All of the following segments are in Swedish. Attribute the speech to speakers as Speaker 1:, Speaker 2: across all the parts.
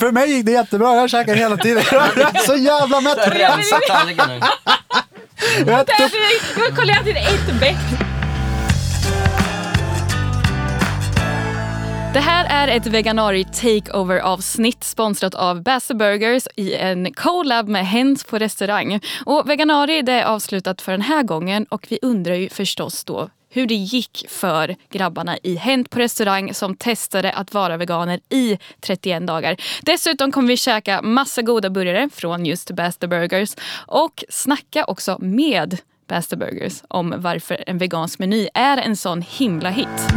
Speaker 1: för mig gick det jättebra. Jag käkade hela tiden. Jag blev så jävla mätt.
Speaker 2: Jag har redan satt tallriken nu.
Speaker 1: Jag åt upp-
Speaker 3: Därför kollade jag till ett bett. Det här är ett veganari takeover avsnitt sponsrat av Basse Burgers i en collab med Hens på restaurang. Och veganari det är avslutat för den här gången och vi undrar ju förstås då hur det gick för grabbarna i Hänt på restaurang som testade att vara veganer i 31 dagar. Dessutom kommer vi käka massa goda burgare från just Basse Burgers och snacka också med Basse Burgers om varför en vegansk meny är en sån himla hit.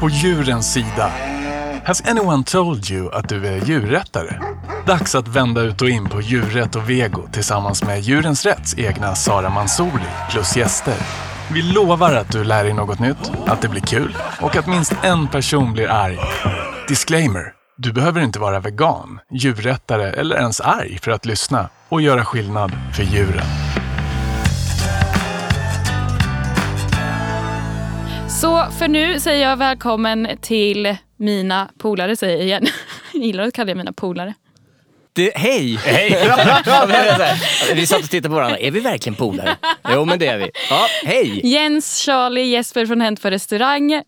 Speaker 4: På djurens sida. Has anyone told you att du är djurrättare? Dags att vända ut och in på djurrätt och vego tillsammans med Djurens Rätts egna Sara Mansouri plus gäster. Vi lovar att du lär dig något nytt, att det blir kul och att minst en person blir arg. Disclaimer. Du behöver inte vara vegan, djurrättare eller ens arg för att lyssna och göra skillnad för djuren.
Speaker 3: Så för nu säger jag välkommen till mina polare säger jag igen. Jag gillar att kalla er mina polare.
Speaker 2: Du, hej! Hej! vi satt och tittade på varandra. Är vi verkligen polare? Jo, men det är vi. Ja, hej!
Speaker 3: Jens, Charlie, Jesper från Hänt på restaurang.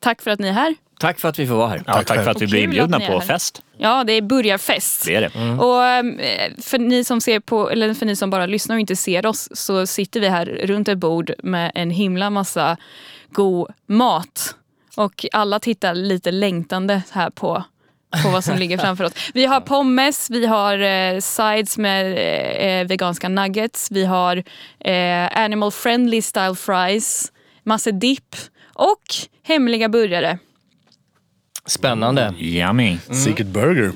Speaker 3: Tack för att ni är här.
Speaker 2: Tack för att vi får vara här.
Speaker 5: Ja, tack för att vi
Speaker 3: Och
Speaker 5: blir
Speaker 3: kul att
Speaker 5: inbjudna
Speaker 3: ni är
Speaker 5: på
Speaker 3: här.
Speaker 5: fest.
Speaker 3: Ja, det är burgarfest.
Speaker 5: Det Mm. är det.
Speaker 3: Och eh, för ni som ser på, eller för ni som bara lyssnar och inte ser oss så sitter vi här runt ett bord med en himla massa god mat. Och alla tittar lite längtande här på, på vad som ligger framför oss. Vi har pommes, vi har eh, sides med eh, eh, veganska nuggets, vi har eh, animal friendly style fries, massa dipp och hemliga burgare.
Speaker 2: Spännande.
Speaker 5: Yummy.
Speaker 3: Mm.
Speaker 6: Secret Burger.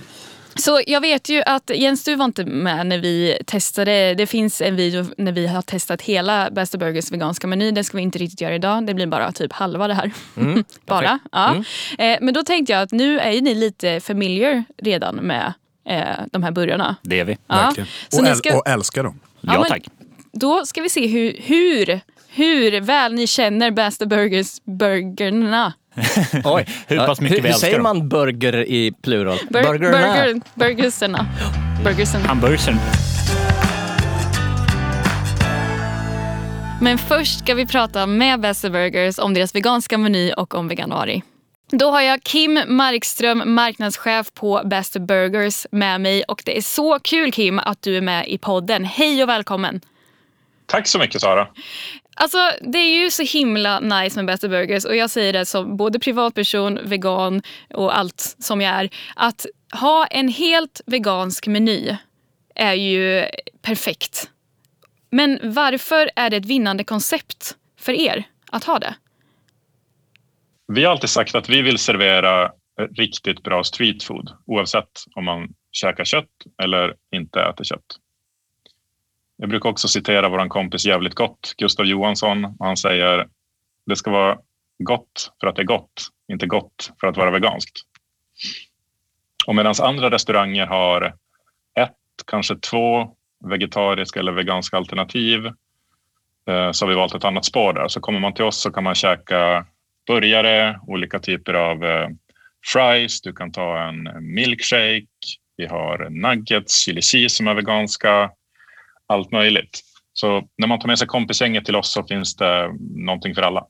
Speaker 3: Så jag vet ju att Jens, du var inte med när vi testade. Det finns en video när vi har testat hela Bästa Burgers veganska meny. Den ska vi inte riktigt göra idag. Det blir bara typ halva det här. bara. Ja. Eh, men då tänkte jag att nu är ju ni lite familiar redan med eh, de här burgarna.
Speaker 5: Det är vi.
Speaker 3: Ja. Så
Speaker 6: Och,
Speaker 3: ni
Speaker 6: äl-
Speaker 3: ska,
Speaker 6: och älskar dem.
Speaker 5: Ja,
Speaker 3: men-
Speaker 5: tack.
Speaker 3: då ska vi se hur, hur, hur väl ni känner Bästa Burgers burgerna.
Speaker 2: Oj.
Speaker 5: Hur pass mycket
Speaker 2: hur,
Speaker 5: vi
Speaker 2: hur
Speaker 5: älskar
Speaker 2: säger
Speaker 5: dem?
Speaker 2: man burger i plural?
Speaker 3: Bur-
Speaker 2: Burgerna.
Speaker 3: Burger, burgerserna. Burgerserna.
Speaker 5: Hamburgaren.
Speaker 3: Men först ska vi prata med Bästa Burgers om deras veganska meny och om veganuari. Då har jag Kim Markström, marknadschef på Bästa Burgers med mig och det är så kul Kim att du är med i podden. Hej och välkommen!
Speaker 7: Tack så mycket Sara.
Speaker 3: Alltså det är ju så himla nice med Bästa Burgers och jag säger det som både privatperson, vegan och allt som jag är. Att ha en helt vegansk meny är ju perfekt. Men varför är det ett vinnande koncept för er att ha det?
Speaker 7: Vi har alltid sagt att vi vill servera eh, riktigt bra street food oavsett om man käkar kött eller inte äter kött. Jag brukar också citera vår kompis jävligt gott, Gustav Johansson. Han säger det ska vara gott för att det är gott, inte gott för att vara veganskt. Och medan andra restauranger har ett, kanske två vegetariska eller veganska alternativ eh, så har vi valt ett annat spår där. Så kommer man till oss så kan man käka burgare, olika typer av eh, fries. Du kan ta en milkshake. Vi har nuggets, chili cheese som är veganska. Allt möjligt. Så när man tar med sig kompisgänget till oss så finns det någonting för alla.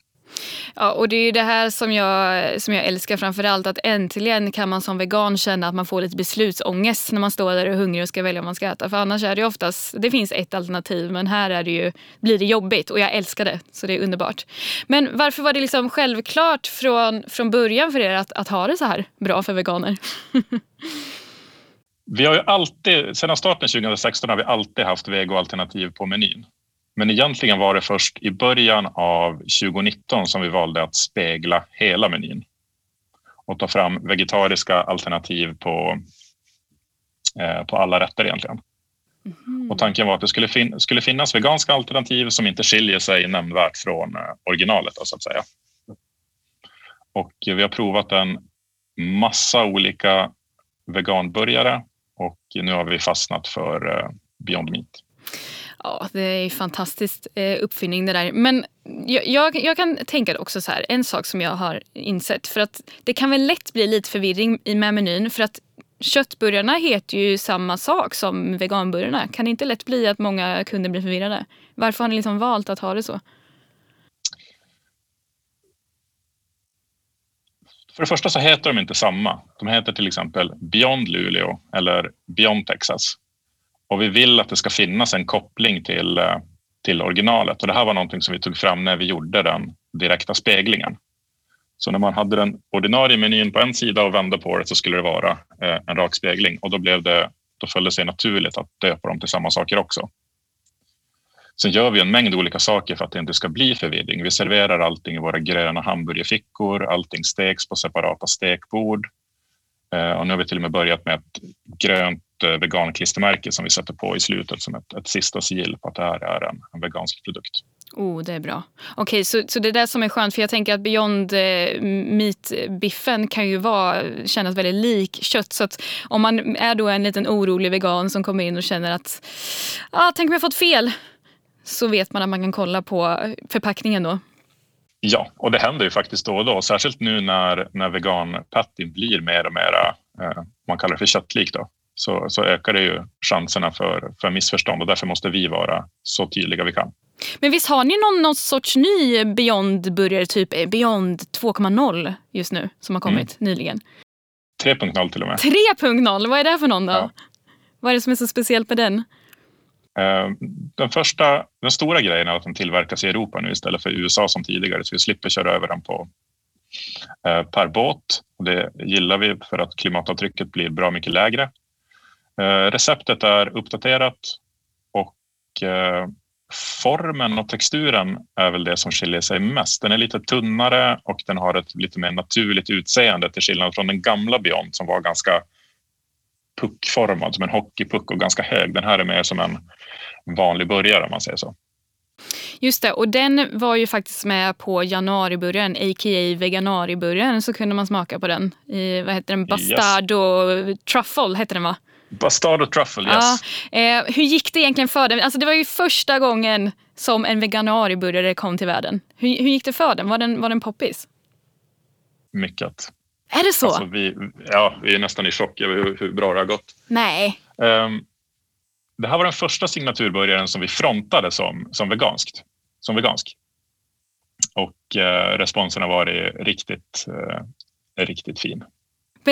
Speaker 3: Ja, och det är ju det här som jag, som jag älskar framför allt. Att äntligen kan man som vegan känna att man får lite beslutsångest när man står där och är hungrig och ska välja vad man ska äta. För annars är det ju oftast, det finns ett alternativ men här är det ju, blir det jobbigt och jag älskar det. Så det är underbart. Men varför var det liksom självklart från, från början för er att, att ha det så här bra för veganer?
Speaker 7: Vi har ju alltid, sedan starten 2016 har vi alltid haft vegoalternativ på menyn. Men egentligen var det först i början av 2019 som vi valde att spegla hela menyn och ta fram vegetariska alternativ på, eh, på alla rätter egentligen. Och tanken var att det skulle, fin- skulle finnas veganska alternativ som inte skiljer sig nämnvärt från eh, originalet. Då, så att säga. Och eh, vi har provat en massa olika veganburgare och nu har vi fastnat för eh, Beyond Meat.
Speaker 3: Ja, det är ju fantastiskt eh, uppfinning det där. Men jag, jag, jag kan tänka också så här, en sak som jag har insett. För att det kan väl lätt bli lite förvirring i- med menyn. För att köttburgarna heter ju samma sak som veganburgarna. Kan det inte lätt bli att många kunder blir förvirrade? Varför har ni liksom valt att ha det så?
Speaker 7: För det första så heter de inte samma. De heter till exempel Beyond Luleå eller Beyond Texas. Och vi vill att det ska finnas en koppling till, eh, till originalet. Och det här var någonting som vi tog fram när vi gjorde den direkta speglingen. Så när man hade den ordinarie menyn på en sida och vände på det så skulle det vara eh, en rak spegling. Och då, blev det, då föll det sig naturligt att döpa dem till samma saker också. Sen gör vi en mängd olika saker för att det inte ska bli förvirring. Vi serverar allting i våra gröna hamburgerfickor. Allting steks på separata stekbord. Eh, Och nu har vi till och med börjat med ett grönt eh, veganklistermärke som vi sätter på i slutet som ett, ett sista sigill på att det här är en, en vegansk produkt.
Speaker 3: Oh, det är bra. Okej, så, så det är det som är skönt. För jag tänker att Beyond eh, Meat-biffen kan ju vara, kännas väldigt lik kött. Så att om man är då en liten orolig vegan som kommer in och känner att ah, tänk om jag fått fel. Så vet man att man kan kolla på förpackningen då.
Speaker 7: Ja, och det händer ju faktiskt då och då. Särskilt nu när, när veganpattin blir mer och mer, eh, man kallar det för köttlik då, så, så ökar det ju chanserna för, för missförstånd och därför måste vi vara så tydliga vi kan.
Speaker 3: Men visst har ni någon, någon sorts ny Beyond-burgare, typ eh, Beyond 2.0 just nu som har kommit nyligen?
Speaker 7: 3.0 till och med.
Speaker 3: 3.0, vad är det för någon då?
Speaker 7: Ja.
Speaker 3: Vad är det som är så speciellt med den?
Speaker 7: Eh, Den första, den stora grejen är att den tillverkas i Europa nu istället för i USA som tidigare, så vi slipper köra över den på eh, per båt. Och Det gillar vi för att klimatavtrycket blir bra mycket lägre. Eh, Receptet är uppdaterat och eh, formen och texturen är väl det som skiljer sig mest. Den är lite tunnare och den har ett lite mer naturligt utseende till skillnad från den gamla Beyond som var ganska puckformad, som en hockeypuck och ganska hög. Den här är mer som en vanlig burgare om man säger så.
Speaker 3: Just det, och den var ju faktiskt med på januariburgaren, a.k.a. veganariburgaren. Så kunde man smaka på den. I, vad heter den? Bastardo truffle hette den va?
Speaker 7: Bastardo truffle, yes.
Speaker 3: Ja. Eh, hur gick det egentligen för den? Alltså det var ju första gången som en veganariburgare kom till världen. Hur, hur gick det för den? Var den, var den poppis?
Speaker 7: Mycket.
Speaker 3: Är det så?
Speaker 7: Alltså, vi, ja, vi är nästan i chock över hur, hur bra det har gått.
Speaker 3: Nej.
Speaker 7: Ehm, det här var den första signaturburgaren som vi frontade som, som, veganskt, som vegansk. Och eh, responsen har varit riktigt, eh, riktigt fin. Den,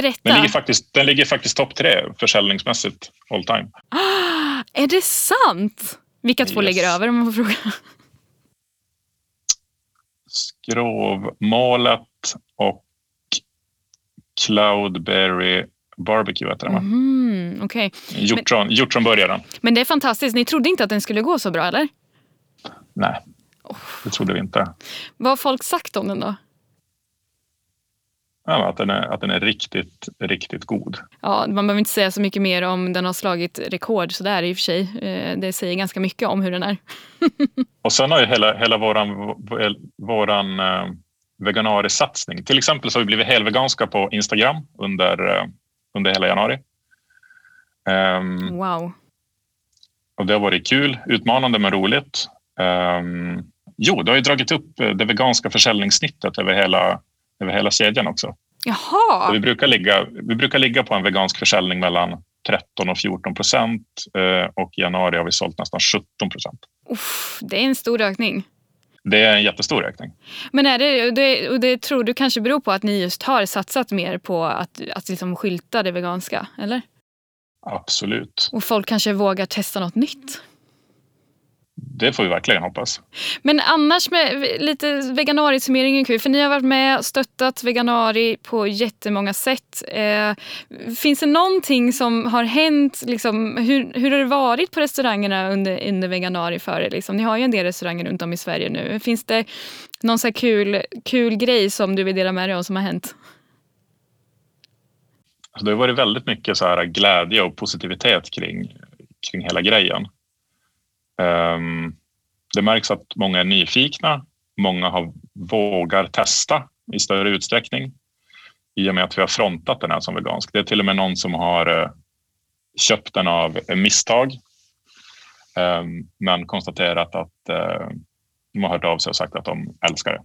Speaker 3: Berätta.
Speaker 7: ligger faktiskt, den ligger faktiskt topp tre försäljningsmässigt all time.
Speaker 3: Ah, är det sant? Vilka två
Speaker 7: Yes.
Speaker 3: ligger över om man får fråga?
Speaker 7: Skrovmålet och Cloudberry Barbecue heter den va?
Speaker 3: Mm, Okej.
Speaker 7: Hjortron, hjortronburgaren.
Speaker 3: Men det är fantastiskt. Ni trodde inte att den skulle gå så bra eller?
Speaker 7: Nej, det trodde vi inte.
Speaker 3: Vad har folk sagt om den då?
Speaker 7: Ja, att, den är, att den är riktigt, riktigt god.
Speaker 3: Ja, man behöver inte säga så mycket mer om den har slagit rekord sådär i och för sig. Eh, Det säger ganska mycket om hur den är.
Speaker 7: Och sen har ju hela, hela våran, våran eh, veganarisatsning. Till exempel så har vi blivit helveganska på Instagram under, eh, under hela januari. Ehm,
Speaker 3: Wow.
Speaker 7: Och det har varit kul, utmanande men roligt. Ehm, jo, det har ju dragit upp eh, det veganska försäljningssnittet över hela, över hela kedjan också. Och Vi,
Speaker 3: Jaha!
Speaker 7: brukar ligga, vi brukar ligga på en vegansk försäljning mellan 13 och 14 procent eh, och i januari har vi sålt nästan 17 procent.
Speaker 3: Uff, det är en stor ökning.
Speaker 7: Det är en jättestor ökning.
Speaker 3: Men är det, det, och det tror du kanske beror på att ni just har satsat mer på att, att liksom skylta det veganska, eller?
Speaker 7: Absolut.
Speaker 3: Och folk kanske vågar testa något nytt.
Speaker 7: Det får vi verkligen hoppas.
Speaker 3: Men annars med lite veganarisummering är kul, för ni har varit med och stöttat veganari på jättemånga sätt. Eh, finns det någonting som har hänt? Liksom, hur, hur har det varit på restaurangerna under, under veganari för er? Liksom? Ni har ju en del restauranger runt om i Sverige nu. Finns det någon så här kul, kul grej som du vill dela med dig av som har hänt?
Speaker 7: Alltså, det har varit väldigt mycket så här glädje och positivitet kring, kring hela grejen. Ehm, det märks att många är nyfikna. Många har, vågar testa i större utsträckning. i och med att vi har frontat den här som vegansk. Det är till och med någon som har eh, köpt den av misstag eh, men konstaterat att eh, de har hört av sig och sagt att de älskar det.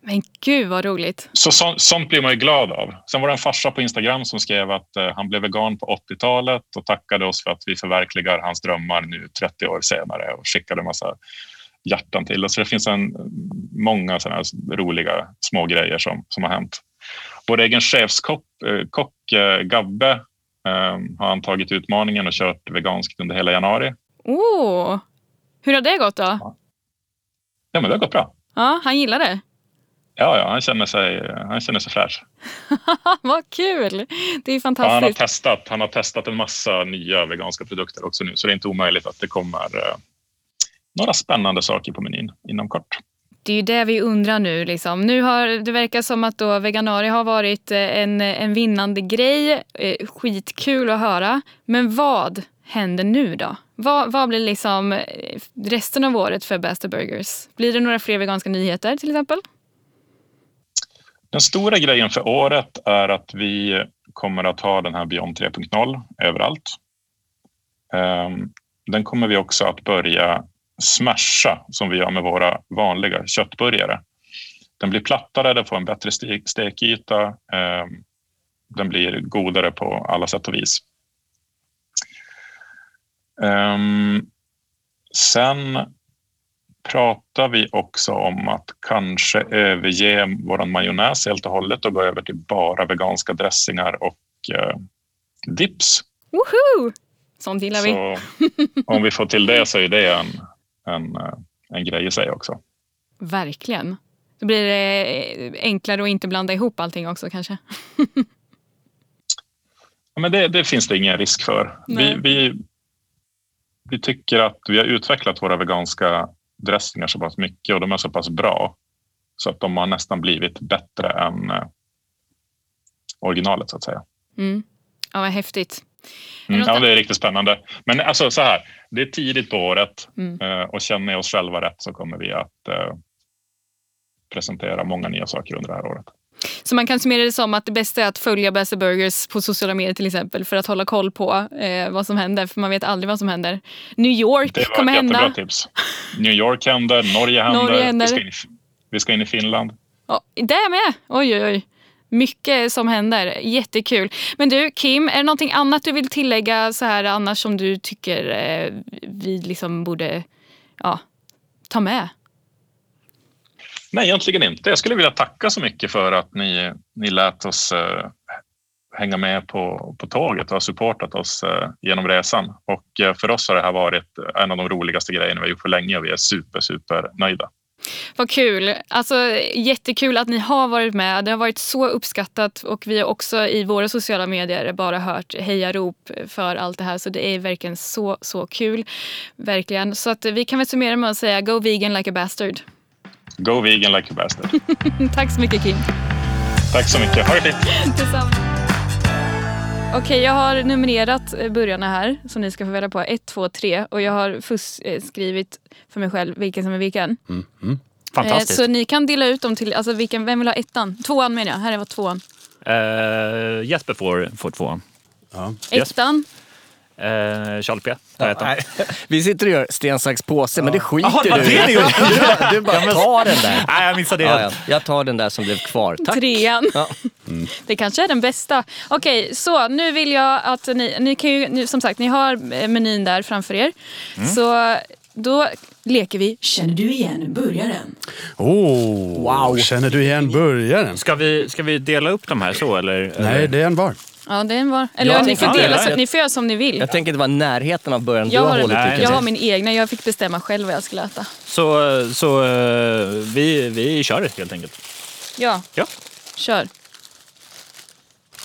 Speaker 3: Men gud vad roligt.
Speaker 7: Så, så, sånt blir man ju glad av. Sen var det en farsa på Instagram som skrev att eh, han blev vegan på 80-talet och tackade oss för att vi förverkligar hans drömmar nu 30 år senare och skickade en massa hjärtan till oss. Så det finns en, många sådana här roliga små grejer som, som har hänt. Vår egen chefskock, eh, kock, eh, Gabbe, eh, har han tagit utmaningen och kört veganskt under hela januari.
Speaker 3: Oh. Hur har det gått då?
Speaker 7: Ja, men det har gått bra.
Speaker 3: Ja, han gillar det.
Speaker 7: Ja, ja han, känner sig, han känner sig fräsch.
Speaker 3: vad kul! Det är
Speaker 7: Ja, han, har
Speaker 3: fantastiskt.
Speaker 7: testat, han har testat en massa nya veganska produkter också nu, så det är inte omöjligt att det kommer eh, några spännande saker på menyn inom kort.
Speaker 3: Det är ju det vi undrar nu. Liksom. nu har, det verkar som att då veganari har varit eh, en, en vinnande grej. Eh, Skitkul att höra. Men vad händer nu då? Vad, vad blir liksom eh, resten av året för Best of Burgers? Blir det några fler veganska nyheter till exempel?
Speaker 7: Den stora grejen för året är att vi kommer att ha den här Beyond 3.0 överallt. Ehm, Den kommer vi också att börja smasha som vi gör med våra vanliga köttburgare. Den blir plattare, den får en bättre ste- stekyta. ehm, Den blir godare på alla sätt och vis. Ehm, Sen pratar vi också om att kanske överge vår majonnäs helt och hållet och gå över till bara veganska dressingar och eh, dips.
Speaker 3: Woho! Sånt gillar vi.
Speaker 7: Så om vi får till det så är det en, en, eh, en grej i sig också.
Speaker 3: Verkligen. Då blir det eh, enklare att inte blanda ihop allting också kanske.
Speaker 7: Ja, Men det, det finns det ingen risk för. Vi,
Speaker 3: Nej.
Speaker 7: vi, vi tycker att vi har utvecklat våra veganska dressingar så pass mycket och de är så pass bra så att de har nästan blivit bättre än eh, originalet så att säga.
Speaker 3: Mm. Ja, vad häftigt.
Speaker 7: Mm,
Speaker 3: Eller
Speaker 7: ja,
Speaker 3: något-
Speaker 7: det är riktigt spännande. Men alltså så här, det är tidigt på året
Speaker 3: Mm.
Speaker 7: eh, och känner jag oss själva rätt så kommer vi att eh, presentera många nya saker under det här året.
Speaker 3: Så man kan summera det som att det bästa är att följa Bessie Burgers på sociala medier till exempel för att hålla koll på eh, vad som händer för man vet aldrig vad som händer. New York
Speaker 7: Det var
Speaker 3: kommer
Speaker 7: ett jättebra
Speaker 3: hända.
Speaker 7: tips. New York händer, Norge händer,
Speaker 3: Norge händer.
Speaker 7: Vi, ska in, i- vi ska in i Finland.
Speaker 3: Ja, det är med! Oj, oj, oj. Mycket som händer. Jättekul. Men du, Kim, är det någonting annat du vill tillägga så här annars som du tycker eh, vi liksom borde ja, ta med?
Speaker 7: Nej, egentligen inte. Jag skulle vilja tacka så mycket för att ni, ni lät oss eh, hänga med på, på tåget och har supportat oss eh, genom resan. Och eh, för oss har det här varit en av de roligaste grejerna vi har gjort på länge och vi är super, super nöjda.
Speaker 3: Vad kul. Alltså, jättekul att ni har varit med. Det har varit så uppskattat och vi har också i våra sociala medier bara hört hejarop för allt det här. Så det är verkligen så, så kul. Verkligen. Så att vi kan väl summera med att säga go vegan like a bastard.
Speaker 7: Go vegan like a bastard.
Speaker 3: Tack så mycket Kim.
Speaker 7: Tack så mycket. Ha det fint.
Speaker 3: Detsamma. Okej, jag har numrerat eh, burgarna här som ni ska få reda på. 1, 2, 3. Och jag har fuss eh, skrivit för mig själv vilken som är vilken. Eh,
Speaker 2: Fantastiskt.
Speaker 3: så ni kan dela ut dem till, alltså vilken, vem vill ha ettan? Tvåan menar jag, här var tvåan.
Speaker 5: Eh, Jesper får, får tvåan. Yes.
Speaker 3: Ettan,
Speaker 5: Uh, Charlie P. tar ettan.
Speaker 2: Nej. Vi sitter och gör sten, sax, påse, men det skiter
Speaker 5: Jaha, det var
Speaker 2: du
Speaker 5: det ni gjorde.
Speaker 2: Du, du bara tar den där.
Speaker 5: Nej, jag missade det
Speaker 2: Ja, ja.
Speaker 5: helt.
Speaker 2: Jag tar den där som blev kvar. Tack.
Speaker 3: trean. Mm.
Speaker 2: Ja.
Speaker 3: Det kanske är den bästa. Okej, så nu vill jag att ni... ni kan ju, ni, som sagt, ni har eh, menyn där framför er.
Speaker 2: Mm.
Speaker 3: Så då leker vi.
Speaker 6: Känner du igen burgaren?
Speaker 1: Oh, wow. Känner du igen burgaren?
Speaker 5: Ska vi, ska vi dela upp de här så eller?
Speaker 1: Nej, det är en var.
Speaker 3: Ja, den var... Eller
Speaker 2: Jag
Speaker 3: ni,
Speaker 2: tänker-
Speaker 3: får dela,
Speaker 5: ja, ja.
Speaker 3: så, ni får göra som ni vill.
Speaker 2: Jag tänker det var närheten av början
Speaker 3: Jag
Speaker 2: du har
Speaker 3: har,
Speaker 2: hållit. typ- tycker
Speaker 3: jag
Speaker 2: jag.
Speaker 3: har min egna. Jag fick bestämma själv vad jag skulle äta.
Speaker 5: Så, så eh, vi, vi kör helt enkelt.
Speaker 3: Ja,
Speaker 5: Ja.
Speaker 3: kör.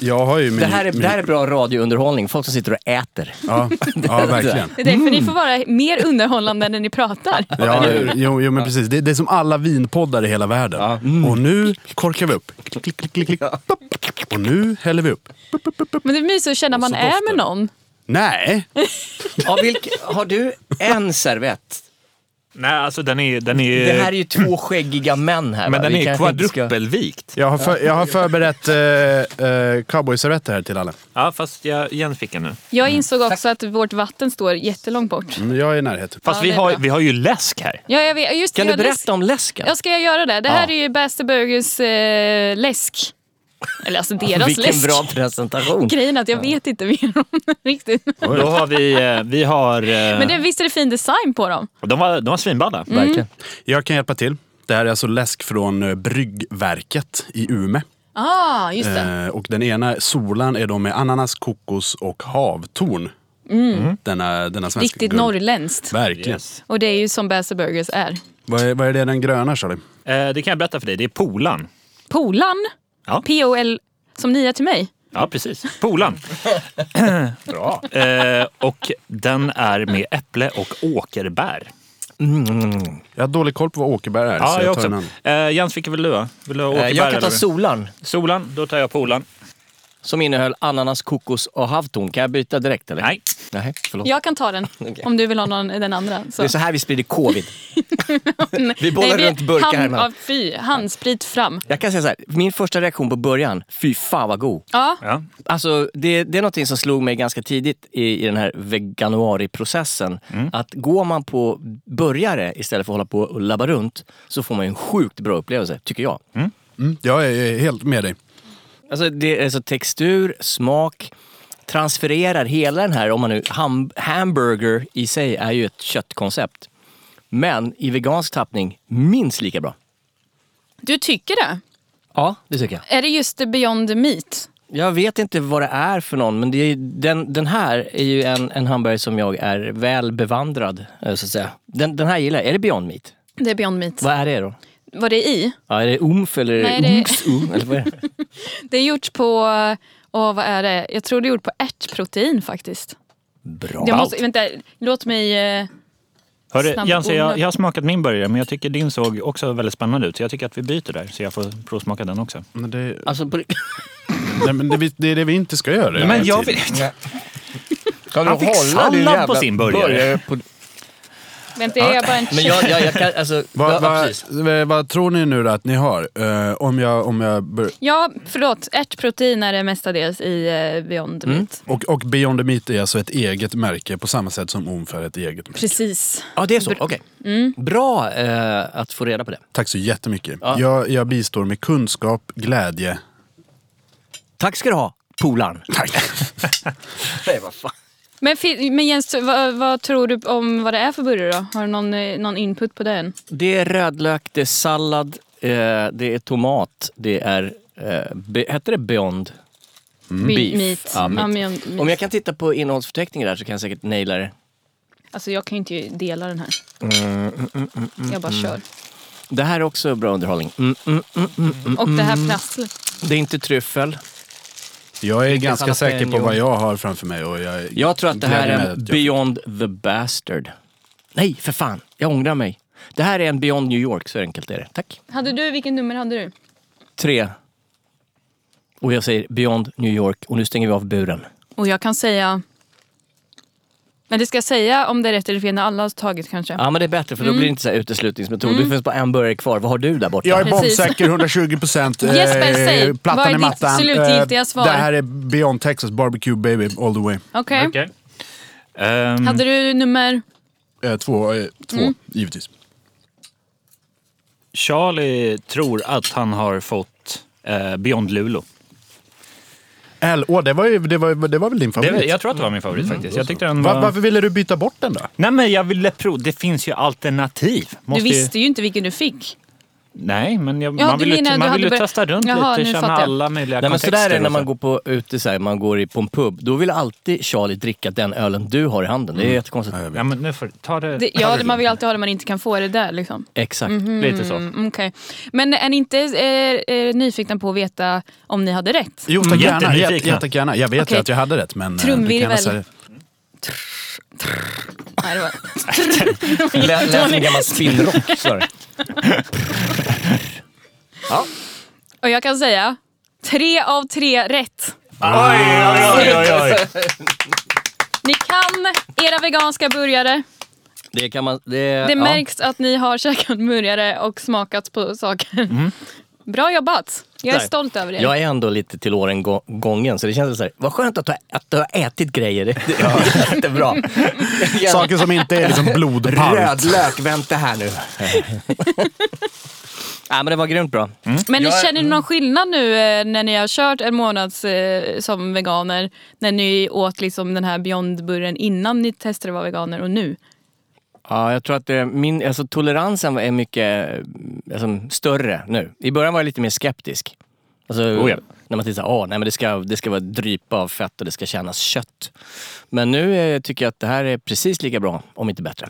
Speaker 1: Jag har ju min...
Speaker 2: Det här, är,
Speaker 1: min...
Speaker 2: det här är bra radiounderhållning, folk som sitter och äter.
Speaker 1: Ja, ja, verkligen.
Speaker 3: Det är därför
Speaker 2: Mm.
Speaker 3: ni får vara mer underhållande när ni pratar.
Speaker 1: Ja, jo, jo, men precis. Det, det är som alla vinpoddar i hela världen. Mm. Och nu korkar vi upp. Klick, klick, klick, klick, klick. Pop. Och nu häller vi upp.
Speaker 3: Men det är mysigt att känna att man är med någon.
Speaker 1: Nej,
Speaker 2: Ja, vilk, har du en servett?
Speaker 8: Nej, alltså den är... Den är...
Speaker 2: Det här är ju två skäggiga män här.
Speaker 8: men
Speaker 2: va?
Speaker 8: den
Speaker 2: Vi
Speaker 8: är
Speaker 2: kanske inte ska-
Speaker 5: Dubbelvikt.
Speaker 1: Jag har, för, jag har förberett eh, eh, cowboyservetter här till alla.
Speaker 8: Ja, fast jag igen fick en nu.
Speaker 3: Jag insåg
Speaker 2: Mm.
Speaker 3: också att vårt vatten står jättelångt bort.
Speaker 1: Mm, Jag är i närheten.
Speaker 8: Fast
Speaker 3: Ja,
Speaker 8: vi,
Speaker 3: det är
Speaker 8: har,
Speaker 3: bra.
Speaker 8: vi har ju läsk här.
Speaker 3: Ja, jag vet, just
Speaker 2: Kan
Speaker 3: det,
Speaker 2: du
Speaker 3: jag hade-
Speaker 2: berätta om läsken?
Speaker 3: Ja, ska jag göra det? Det här
Speaker 2: Ja.
Speaker 3: är ju Bäste Burgers eh, läsk. Eller alltså deras
Speaker 2: Vilken
Speaker 3: läsk. Mm.
Speaker 2: bra presentation.
Speaker 3: Grejen är att jag vet inte mer om den riktigt.
Speaker 8: Då har vi... eh, vi har eh,
Speaker 3: Men Mm. det, visst är det fin design på dem?
Speaker 8: de, var, de var svinballa.
Speaker 2: Verkligen.
Speaker 1: Jag kan hjälpa till. Det här är alltså läsk från eh, Bryggverket i Ume.
Speaker 3: Ah, just det.
Speaker 1: Eh, och den ena solan är då med ananas, kokos och havtorn. Denna, denna svenska
Speaker 3: Mm. Riktigt
Speaker 1: guld.
Speaker 3: norrländskt.
Speaker 1: Verkligen.
Speaker 3: Och det är ju som Bäste Burgers är.
Speaker 1: Vad, är, vad är det den gröna Charlie?
Speaker 8: Eh, det kan jag berätta för dig. Det är Polan.
Speaker 3: Polan.
Speaker 8: Ja.
Speaker 3: P-O-L. Som nia till mig.
Speaker 8: Ja, precis. Polan. Bra. Eh, och den är med äpple och åkerbär.
Speaker 1: Jag har dålig koll på vad åkerbär är. så
Speaker 8: Ja,
Speaker 1: jag
Speaker 8: jag
Speaker 1: tar en
Speaker 8: också.
Speaker 1: annan.
Speaker 8: Eh, Jens, vilken vill du ha? Vill du ha
Speaker 2: Eh,
Speaker 8: åkerbär?
Speaker 2: Jag kan ta
Speaker 8: eller?
Speaker 2: solan
Speaker 8: Solan, då tar jag Polan.
Speaker 2: som innehöll ananas, kokos och havtorn. Kan jag byta direkt eller?
Speaker 8: Nej.
Speaker 2: Nej, förlåt.
Speaker 3: Jag kan ta den.
Speaker 2: Okej.
Speaker 3: Om du vill ha någon, den andra. Så.
Speaker 2: Det är så här vi sprider covid. vi bollar
Speaker 3: Nej, vi-
Speaker 2: runt burkar här.
Speaker 3: hand,
Speaker 2: men-
Speaker 3: ja, Fy, handsprit fram.
Speaker 2: Jag kan säga så här, min första reaktion på början, fy fan vad god.
Speaker 3: Ja,
Speaker 8: Ja.
Speaker 2: Alltså, det, det är någonting som slog mig ganska tidigt i, i den här veganuari-processen. Att går man på burgare istället för att hålla på och labba runt så får man ju en sjukt bra upplevelse, tycker jag.
Speaker 1: Mm, jag är helt med dig.
Speaker 2: Alltså, det är så textur, smak, transfererar hela den här, om man nu, ham, hamburger i sig är ju ett köttkoncept. Men i vegansk tappning, minst lika bra.
Speaker 3: du tycker det.
Speaker 2: Ja, det tycker jag.
Speaker 3: Är det just the Beyond Meat?
Speaker 2: Jag vet inte vad det är för någon, men det är, den, den här är ju en, en hamburgare som jag är väl bevandrad, eh, så att säga. Den, den här gillar jag. Är det Beyond Meat?
Speaker 3: Det är Beyond Meat.
Speaker 2: Vad är det då?
Speaker 3: Vad det är i?
Speaker 2: Ja, är det umf eller
Speaker 3: Nej,
Speaker 2: Nej,
Speaker 3: det-
Speaker 2: umx um, eller vad är det?
Speaker 3: Det är gjort på, åh vad är det? Jag tror det är gjort på ärtprotein faktiskt.
Speaker 2: Bra.
Speaker 3: Jag måste, vänta, låt mig... eh,
Speaker 8: Hörru,
Speaker 3: Snabb
Speaker 8: Jens, jag,
Speaker 3: onödig.
Speaker 8: jag har smakat min burgare, men jag tycker din såg också väldigt spännande ut. Så jag tycker att vi byter där, så jag får provsmaka den också.
Speaker 1: Men det,
Speaker 2: Alltså, på...
Speaker 1: nej, men det, vi- det är det vi inte ska göra. hela
Speaker 8: Men jag
Speaker 1: tiden.
Speaker 8: vet.
Speaker 9: Kan
Speaker 8: Han fick sallad på sin burgare.
Speaker 9: på...
Speaker 3: Vänta, jag är bara en
Speaker 2: Men jag, jag, jag kan, alltså, ja,
Speaker 1: Vad,
Speaker 2: ja,
Speaker 1: vad,
Speaker 2: precis.
Speaker 1: vad, vad tror ni nu då att ni har? Eh, om jag... Om jag bör,
Speaker 3: Ja, förlåt. Ärtprotein är det mestadels i eh, Beyond
Speaker 2: Mm.
Speaker 3: Meat.
Speaker 1: och, och Beyond the Meat är alltså ett eget märke på samma sätt som Omf är ett eget märke.
Speaker 3: Precis.
Speaker 2: ja, det är så. Okej.
Speaker 3: Mm.
Speaker 2: Bra eh, att få reda på det.
Speaker 1: Tack så jättemycket. Jag, jag bistår med kunskap, glädje.
Speaker 2: Tack ska du ha, polaren.
Speaker 1: Tack.
Speaker 2: Nej, vad fan.
Speaker 3: Men, fi- men Jens, vad, vad tror du om vad det är för burgare då? Har du någon, eh, någon input på den?
Speaker 2: Det är rödlök, det är sallad, eh, det är tomat, det är... Eh, be, heter det Beyond?
Speaker 3: Be-
Speaker 2: Mm. Beef.
Speaker 3: Meat.
Speaker 2: Ja, meat.
Speaker 3: Ja, Beyond Meat.
Speaker 2: Om jag kan titta på innehållsförteckningen där så kan jag säkert naila det.
Speaker 3: Alltså jag kan ju inte dela den här.
Speaker 2: Mm,
Speaker 3: jag bara kör.
Speaker 2: Det här är också bra underhållning. Mm, mm, mm, mm, mm.
Speaker 3: Och det här prasslet.
Speaker 2: Det är inte tryffel.
Speaker 1: Jag är ganska
Speaker 2: jalapeno.
Speaker 1: säker på vad jag har framför mig. Och jag,
Speaker 2: Jag tror att det här
Speaker 1: glädjer mig
Speaker 2: är
Speaker 1: att
Speaker 2: en
Speaker 1: jag-
Speaker 2: Beyond the Bastard. Nej, för fan. Jag ångrar mig. Det här är en Beyond New York, så enkelt är det. Tack.
Speaker 3: Hade du, vilken nummer hade du?
Speaker 2: Tre. Och jag säger Beyond New York och nu stänger vi av buren.
Speaker 3: Och jag kan säga... Men det ska jag säga om det är rätt eller fel när alla har tagit kanske.
Speaker 2: Ja, men det är bättre för då blir det inte så här uteslutningsmetod. Det finns bara en burgare kvar. Vad har du där borta?
Speaker 1: Jag är
Speaker 3: Precis.
Speaker 1: bombsäker 120 procent. eh,
Speaker 3: Jesper, säg. Vad är
Speaker 1: Plattan i
Speaker 3: ditt
Speaker 1: mattan.
Speaker 3: slutgiltiga
Speaker 1: Eh,
Speaker 3: svar?
Speaker 1: Det här är Beyond Texas Barbecue Baby all the way.
Speaker 3: Okej.
Speaker 8: Okej. Ehm,
Speaker 3: Hade du nummer...
Speaker 1: Eh, Två, eh, två
Speaker 3: Mm.
Speaker 1: givetvis.
Speaker 8: Charlie tror att han har fått eh, Beyond Luleå.
Speaker 1: L, åh, det, var ju, det, var, det var väl din
Speaker 8: Det,
Speaker 1: favorit?
Speaker 8: jag tror att det var min favorit
Speaker 2: Mm.
Speaker 8: faktiskt. Jag tyckte den
Speaker 1: Va,
Speaker 8: var...
Speaker 1: varför ville du byta bort den då?
Speaker 8: Nej, men jag ville prova. Det finns ju alternativ.
Speaker 3: Du
Speaker 8: Måste ju-
Speaker 3: visste ju inte vilken du fick.
Speaker 8: Nej, men jag,
Speaker 3: Ja,
Speaker 8: man
Speaker 3: du
Speaker 8: vill ju
Speaker 3: menar, du
Speaker 8: man vill
Speaker 3: hade
Speaker 8: ju
Speaker 3: börjat-
Speaker 8: testa runt
Speaker 3: Jaha,
Speaker 8: lite,
Speaker 3: nu
Speaker 8: känna
Speaker 3: fattar jag.
Speaker 8: alla möjliga
Speaker 2: Nej, men
Speaker 8: kontexter.
Speaker 2: sådär är det när
Speaker 8: och
Speaker 2: man
Speaker 8: så.
Speaker 2: går på ute, så här, man går i, på en pub. Då vill alltid Charlie dricka den ölen du har i handen. Det är jättekonstigt.
Speaker 8: Ja, men nu får ta det,
Speaker 3: Det, ja, man vill alltid ha det man inte kan få. Är det där liksom?
Speaker 2: Exakt.
Speaker 8: lite så.
Speaker 3: Mm, Okej. Men är ni inte eh, eh, nyfikna på att veta om ni hade rätt?
Speaker 1: Jo,
Speaker 8: mm.
Speaker 1: tack gärna.
Speaker 8: Jättenyfikna.
Speaker 1: Jätte- Jättegärna. Jag vet ju
Speaker 3: Okej.
Speaker 1: att jag hade rätt, men... eh, du kan gärna
Speaker 3: Trumvirvel.
Speaker 1: säga-
Speaker 3: Nej, det var...
Speaker 2: Lät lät som en gammal spinnrock. sa det.
Speaker 3: Och jag kan säga tre av tre rätt. Ni kan era veganska burgare.
Speaker 2: Det kan man... Det,
Speaker 3: Det
Speaker 2: Eh, ja.
Speaker 3: märks att ni har käkat burgare och smakat på saker. Bra jobbat! Jag är
Speaker 2: Där.
Speaker 3: stolt över er.
Speaker 2: Mm. Jag är ändå lite till åren gå- gången, så det känns så här, vad skönt att du, har- att du har ätit grejer. Det är jättebra.
Speaker 1: Saker som inte är liksom blodpalt.
Speaker 2: Rödlök, vänta här nu. Nej, men det var grymt bra.
Speaker 3: Men
Speaker 9: Jag är-
Speaker 3: känner ni någon skillnad nu eh, när ni har kört en månad eh, som veganer? När ni åt liksom den här Beyond-burren innan ni testade att vara veganer och nu?
Speaker 2: Ja, jag tror att det, min, alltså, toleransen är mycket eh, alltså, större nu. I början var jag lite mer skeptisk. Alltså,
Speaker 8: Oh ja.
Speaker 2: När man tittar, ah, nej, men det, ska, det ska vara drypa av fett och det ska kännas kött. Men nu eh, tycker jag att det här är precis lika bra, om inte bättre.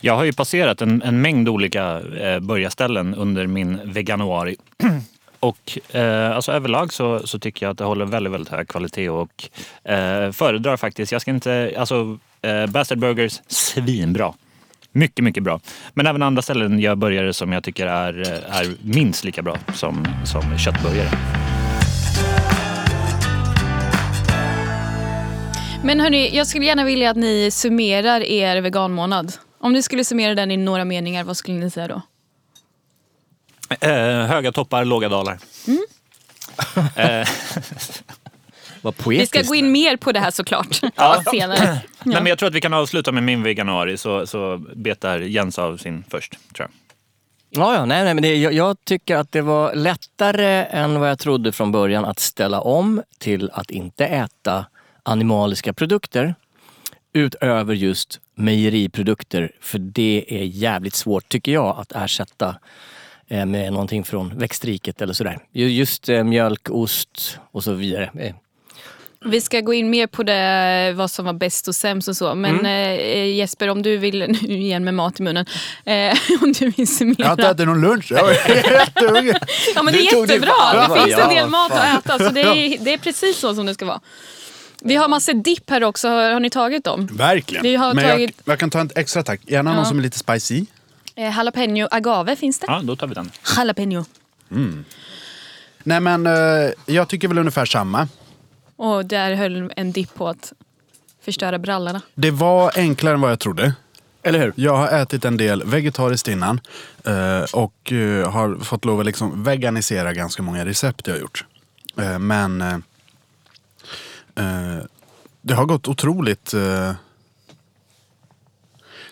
Speaker 8: Jag har ju passerat en, en mängd olika eh, börjarställen under min veganuari. Och eh, alltså överlag så, så tycker jag att det håller väldigt, väldigt hög kvalitet och eh, föredrar faktiskt. Jag ska inte, alltså eh, Bastard Burgers, svinbra. Mycket, mycket bra. Men även andra ställen jag började som jag tycker är, eh, är minst lika bra som, som köttburgare.
Speaker 3: Men hörni, jag skulle gärna vilja att ni summerar er veganmånad. Om ni skulle summera den i några meningar, vad skulle ni säga då?
Speaker 8: Eh, höga toppar, låga dalar.
Speaker 2: Vad
Speaker 3: Vi
Speaker 2: poetiskt.
Speaker 3: ska gå in mer på det här såklart senare.
Speaker 8: Nej, men jag tror att vi kan avsluta med min veganuari så, så betar Jens av sin först, tror jag.
Speaker 2: Ja, ja, nej, nej, men det, jag, jag tycker att det var lättare än vad jag trodde från början att ställa om till att inte äta animaliska produkter utöver just mejeriprodukter. För det är jävligt svårt, tycker jag, att ersätta eh, med någonting från växtriket eller sådär. Ju- Just eh, mjölk, ost och så vidare. Eh,
Speaker 3: Vi ska gå in mer på det, vad som var bäst och sämst och så.
Speaker 9: Mm.
Speaker 3: Men eh, Jesper, om du vill, nu igen med mat i munnen, eh, om du vill
Speaker 1: Jag har inte
Speaker 3: summera.
Speaker 1: ätit någon lunch. Jag är jättehungrig.
Speaker 3: Ja men det
Speaker 9: Du
Speaker 3: är
Speaker 9: tog det
Speaker 3: jättebra,
Speaker 9: fan,
Speaker 3: det
Speaker 9: vad
Speaker 3: finns
Speaker 9: bra.
Speaker 3: en del mat
Speaker 9: Fan.
Speaker 3: att äta så det är, det är precis så som det ska vara. Vi har massor dipp här också, har, har ni tagit dem?
Speaker 1: Verkligen.
Speaker 3: Vi har
Speaker 1: Men jag,
Speaker 3: tagit-
Speaker 1: jag kan ta en extra tack. Gärna någon som är lite spicy.
Speaker 3: Eh, jalapeno agave finns det.
Speaker 8: Ja, då tar vi den.
Speaker 3: Jalapeno.
Speaker 1: Nej men eh, jag tycker väl ungefär samma.
Speaker 3: Och där höll en dipp på att förstöra brallorna.
Speaker 1: Det var enklare än vad jag trodde.
Speaker 2: Eller hur?
Speaker 1: Jag har ätit en del vegetariskt innan eh, och eh, har fått lov att liksom veganisera ganska många recept jag har gjort. Eh, Men eh, eh, det har gått otroligt... eh,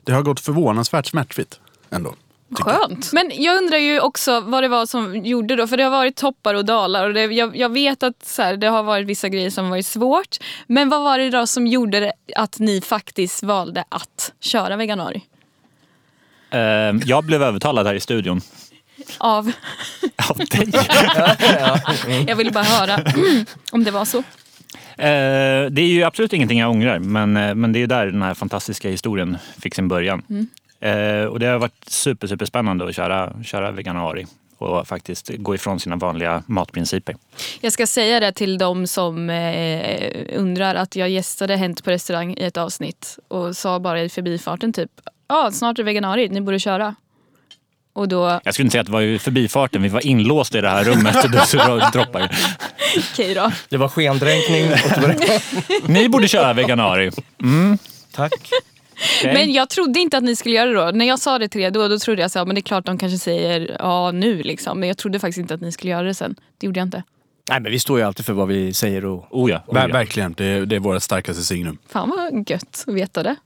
Speaker 1: Det har gått förvånansvärt smärtfritt ändå. tycker jag.
Speaker 3: Skönt. Typ. Men jag undrar ju också vad det var som gjorde då, för det har varit toppar och dalar och det, jag, jag vet att så här, det har varit vissa grejer som varit svårt. Men vad var det då som gjorde det att ni faktiskt valde att köra veganari?
Speaker 8: Eh, jag blev övertalad här i studion.
Speaker 3: Av,
Speaker 8: Av dig.
Speaker 2: Mm.
Speaker 3: jag ville bara höra om det var så.
Speaker 8: Eh, det är ju absolut ingenting jag ångrar, men, eh, men det är ju där den här fantastiska historien fick sin början. Eh, och det har varit super, superspännande att köra, köra veganari och faktiskt gå ifrån sina vanliga matprinciper.
Speaker 3: Jag ska säga det till de som eh, undrar att jag gästade Hänt på restaurang i ett avsnitt och sa bara i förbifarten typ ja snart är det veganari, ni borde köra. Och då,
Speaker 8: Jag skulle inte säga att det var i förbifarten, vi var inlåsta i det här rummet och det droppar.
Speaker 3: okej då.
Speaker 2: Det var skendränkning.
Speaker 8: Ni borde köra veganari.
Speaker 2: Tack.
Speaker 3: Men jag trodde inte att ni skulle göra det då. När jag sa det till er då, då trodde jag så här, men det är klart de kanske säger ja nu liksom. Men jag trodde faktiskt inte att ni skulle göra det sen. Det gjorde jag inte.
Speaker 2: Nej, men vi står ju alltid för vad vi säger och
Speaker 8: Oh ja,
Speaker 1: Ver-
Speaker 8: oh ja.
Speaker 1: Verkligen, det är, det är vårt starkaste signum.
Speaker 3: Fan vad gött att veta det.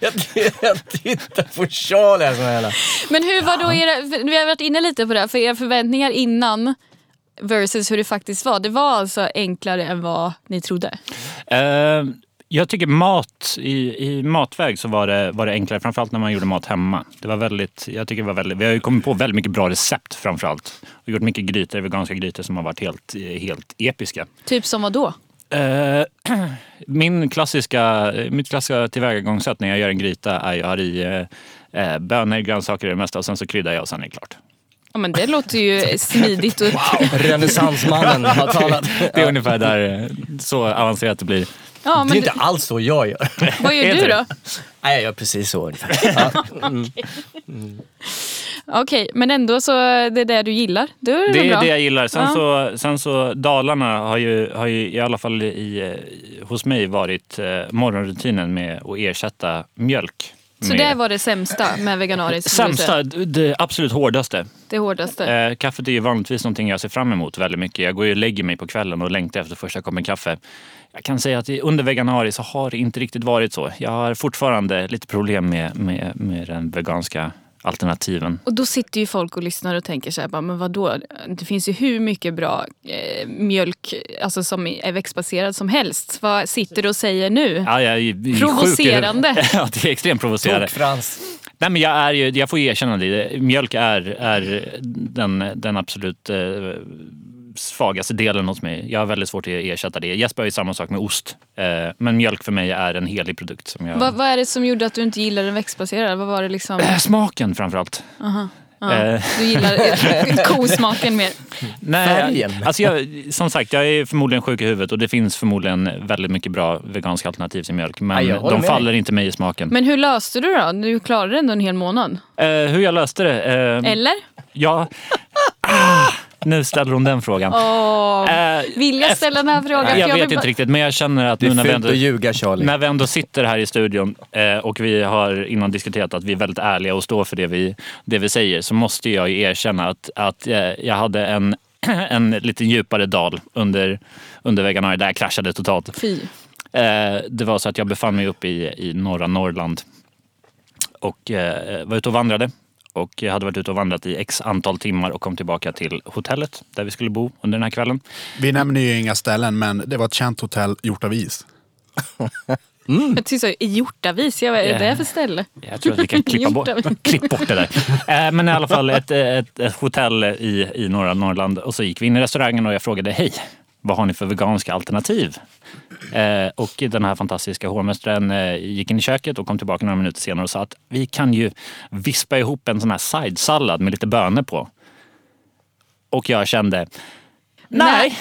Speaker 2: Jag, jag tittar på Charlie här som hela.
Speaker 3: Men hur var då era, för vi har varit inne lite på det, här, för era förväntningar innan versus hur det faktiskt var. Det var alltså enklare än vad ni trodde.
Speaker 8: Eh, jag tycker mat, i, i matväg så var det, var det enklare, framförallt när man gjorde mat hemma. Det var väldigt, jag tycker det var väldigt, vi har ju kommit på väldigt mycket bra recept framförallt. Och gjort mycket grytor, veganska grytor som har varit helt, helt episka.
Speaker 3: Typ som vad då?
Speaker 8: Eh, Min klassiska, mitt klassiska tillvägagångssätt när jag gör en gryta är jag har i eh, eh, bönor, grönsaker och det mesta och sen så kryddar jag och sen är det klart.
Speaker 3: Ja men det låter ju smidigt. Och,
Speaker 2: Renässansmannen har talat.
Speaker 8: Det är ungefär där, eh, så avancerat det blir.
Speaker 3: ja
Speaker 2: Det är
Speaker 3: men
Speaker 2: inte
Speaker 3: du,
Speaker 2: alls så jag gör.
Speaker 3: vad gör
Speaker 8: Är
Speaker 3: du
Speaker 8: det
Speaker 3: då?
Speaker 8: det?
Speaker 2: Nej, jag gör precis så ungefär. Ja.
Speaker 3: Okej, men ändå så det är det du gillar. Då är det,
Speaker 8: Det
Speaker 3: bra.
Speaker 8: är det jag gillar. Sen,
Speaker 3: Ja.
Speaker 8: så, sen så Dalarna har ju, har ju i alla fall i, eh, hos mig varit eh, morgonrutinen med att ersätta mjölk.
Speaker 3: Så
Speaker 8: med,
Speaker 3: det var det sämsta med veganariskt? skulle du säga?
Speaker 8: Sämsta, d- det absolut hårdaste.
Speaker 3: Det hårdaste?
Speaker 8: Eh, kaffet är ju vanligtvis någonting jag ser fram emot väldigt mycket. Jag går ju och lägger mig på kvällen och längtar efter första koppen kaffe. Jag kan säga att i- under veganari så har det inte riktigt varit så. Jag har fortfarande lite problem med, med, med den veganska alternativen.
Speaker 3: Och då sitter ju folk och lyssnar och tänker så här, bara, men vadå? Det finns ju hur mycket bra eh, mjölk alltså, som är växtbaserad som helst. Vad sitter du och säger nu?
Speaker 8: Ja, jag är ju- sjuk i huvudet.
Speaker 3: Provocerande.
Speaker 8: ja, det är extremt provocerande.
Speaker 5: Frans.
Speaker 8: Nej, men jag, är ju, jag får ju erkänna det. Mjölk är, är den, den absolut eh, svagaste delen hos mig. Jag har väldigt svårt att ersätta det. Jesper har ju samma sak med ost. Eh, men mjölk för mig är en helig produkt. Som jag...
Speaker 3: Vad, vad är det som gjorde att du inte gillar den växtbaserade? Vad var det liksom?
Speaker 8: Eh, Smaken framförallt. Eh,
Speaker 3: Du gillar kosmaken mer?
Speaker 8: nej,
Speaker 5: Färgen.
Speaker 8: jag, alltså jag, som sagt, jag är förmodligen sjuk i huvudet och det finns förmodligen väldigt mycket bra veganska alternativ till mjölk. Men
Speaker 5: Ja, jag håller
Speaker 8: de
Speaker 5: med
Speaker 8: faller inte mig i smaken.
Speaker 3: Men hur löste du då? Du klarade det ändå en hel månad.
Speaker 8: Eh, hur jag löste det? Eh,
Speaker 3: Eller?
Speaker 8: ja, ah, nu ställer hon den frågan.
Speaker 3: Åh,
Speaker 8: Eh,
Speaker 3: vill jag ställa den här frågan? För
Speaker 8: Jag,
Speaker 3: vill
Speaker 8: vet
Speaker 3: bara-
Speaker 8: inte riktigt, men jag känner att
Speaker 5: Det
Speaker 8: nu
Speaker 5: är
Speaker 8: när vi,
Speaker 5: fult
Speaker 8: ändå,
Speaker 5: att ljuga Charlie.
Speaker 8: när vi ändå sitter här i studion eh, och vi har innan diskuterat att vi är väldigt ärliga och står för det vi, det vi säger så måste jag ju erkänna att, att eh, jag hade en, en lite djupare dal under, under veganari där jag kraschade totalt.
Speaker 3: Fy.
Speaker 8: Eh, det var så att jag befann mig uppe i, i norra Norrland och eh, var ute och vandrade. Och jag hade varit ute och vandrat i x antal timmar och kom tillbaka till hotellet där vi skulle bo under den här kvällen.
Speaker 1: Vi nämner ju inga ställen, men det var ett känt hotell gjort av is.
Speaker 3: Jag tyckte så, i Hjortavis, jag, vad är det
Speaker 8: Yeah.
Speaker 3: för ställe?
Speaker 8: Jag tror att vi kan klippa bort,
Speaker 3: Hjortavis.
Speaker 8: klipp bort det där. Eh, Men i alla fall ett, ett, ett hotell i, i norra Norrland. Och så gick vi in i restaurangen och jag frågade hej, vad har ni för veganska alternativ? Eh, Och den här fantastiska hovmästaren eh, gick in i köket och kom tillbaka några minuter senare och sa att vi kan ju vispa ihop en sån här sidesallad med lite bönor på. Och jag kände, nej,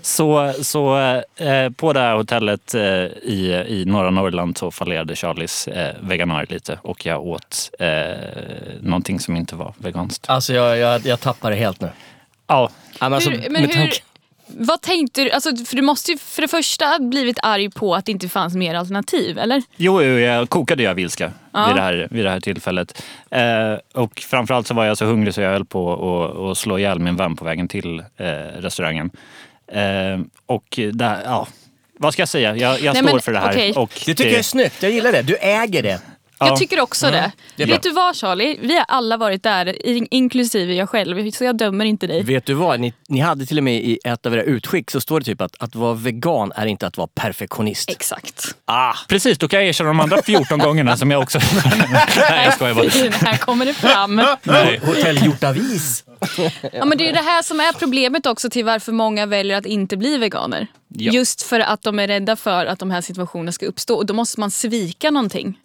Speaker 8: så, så eh, på det här hotellet eh, i, i norra Norrland så fallerade Charlies eh, veganari lite och jag åt eh, någonting som inte var veganskt.
Speaker 5: Alltså jag, jag, jag tappar det helt nu.
Speaker 8: Ja,
Speaker 5: Ja, men alltså,
Speaker 3: hur, men
Speaker 8: med
Speaker 3: hur,
Speaker 8: tanke-
Speaker 3: vad tänkte du? Alltså, för du måste ju för det första ha blivit arg på att det inte fanns mer alternativ, eller?
Speaker 8: jo, jo, jag kokade jag vilska
Speaker 3: Ja.
Speaker 8: vid, det här, vid det här tillfället. Eh, och framförallt så var jag så hungrig så jag höll på att- att slå ihjäl min vän på vägen till eh, restaurangen. Eh, och där, ja, vad ska jag säga? Jag, jag
Speaker 3: Nej,
Speaker 8: står
Speaker 3: men,
Speaker 8: för det här.
Speaker 3: okej.
Speaker 8: Och
Speaker 5: Det tycker jag är snyggt, jag gillar det. Du äger det.
Speaker 8: Ja.
Speaker 3: Jag tycker också det.
Speaker 5: är
Speaker 3: Vet du vad Charlie? Vi har alla varit där, in- inklusive jag själv, så jag dömer inte dig.
Speaker 2: Vet du vad? Ni, ni hade till och med i ett av era utskick så står det typ att att vara vegan är inte att vara perfektionist.
Speaker 3: Exakt.
Speaker 8: Precis, då kan jag erkänna de andra 14 gångerna som jag också... Nej, jag skojar bara.
Speaker 3: Här kommer det fram.
Speaker 8: Nej.
Speaker 5: Hotell Hjortavis.
Speaker 3: Ja, men det är ju det här som är problemet också till varför många väljer att inte bli veganer.
Speaker 8: Ja.
Speaker 3: Just för att de är rädda för att de här situationerna ska uppstå och då måste man svika någonting.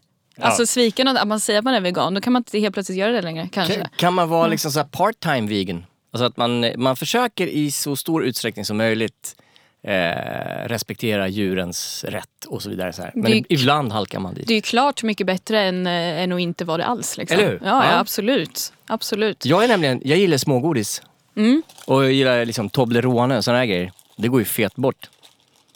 Speaker 3: Alltså svika något, att man säger att man är vegan, då kan man inte helt plötsligt göra det längre kanske.
Speaker 2: Kan, kan man
Speaker 3: Mm.
Speaker 2: vara liksom så här part-time vegan? Alltså att man, man försöker i så stor utsträckning som möjligt eh, respektera djurens rätt och så vidare. Så här. Men
Speaker 3: Det är-
Speaker 2: ibland halkar man dit.
Speaker 3: Det är ju klart mycket bättre än, eh, än att inte vara det alls. Liksom.
Speaker 2: Eller hur?
Speaker 3: Ja, ja.
Speaker 2: Ja.
Speaker 3: absolut. absolut.
Speaker 2: Jag är nämligen, jag gillar smågodis.
Speaker 3: Mm.
Speaker 2: Och jag gillar liksom Toblerone och sådana här grejer. Det går ju fet bort.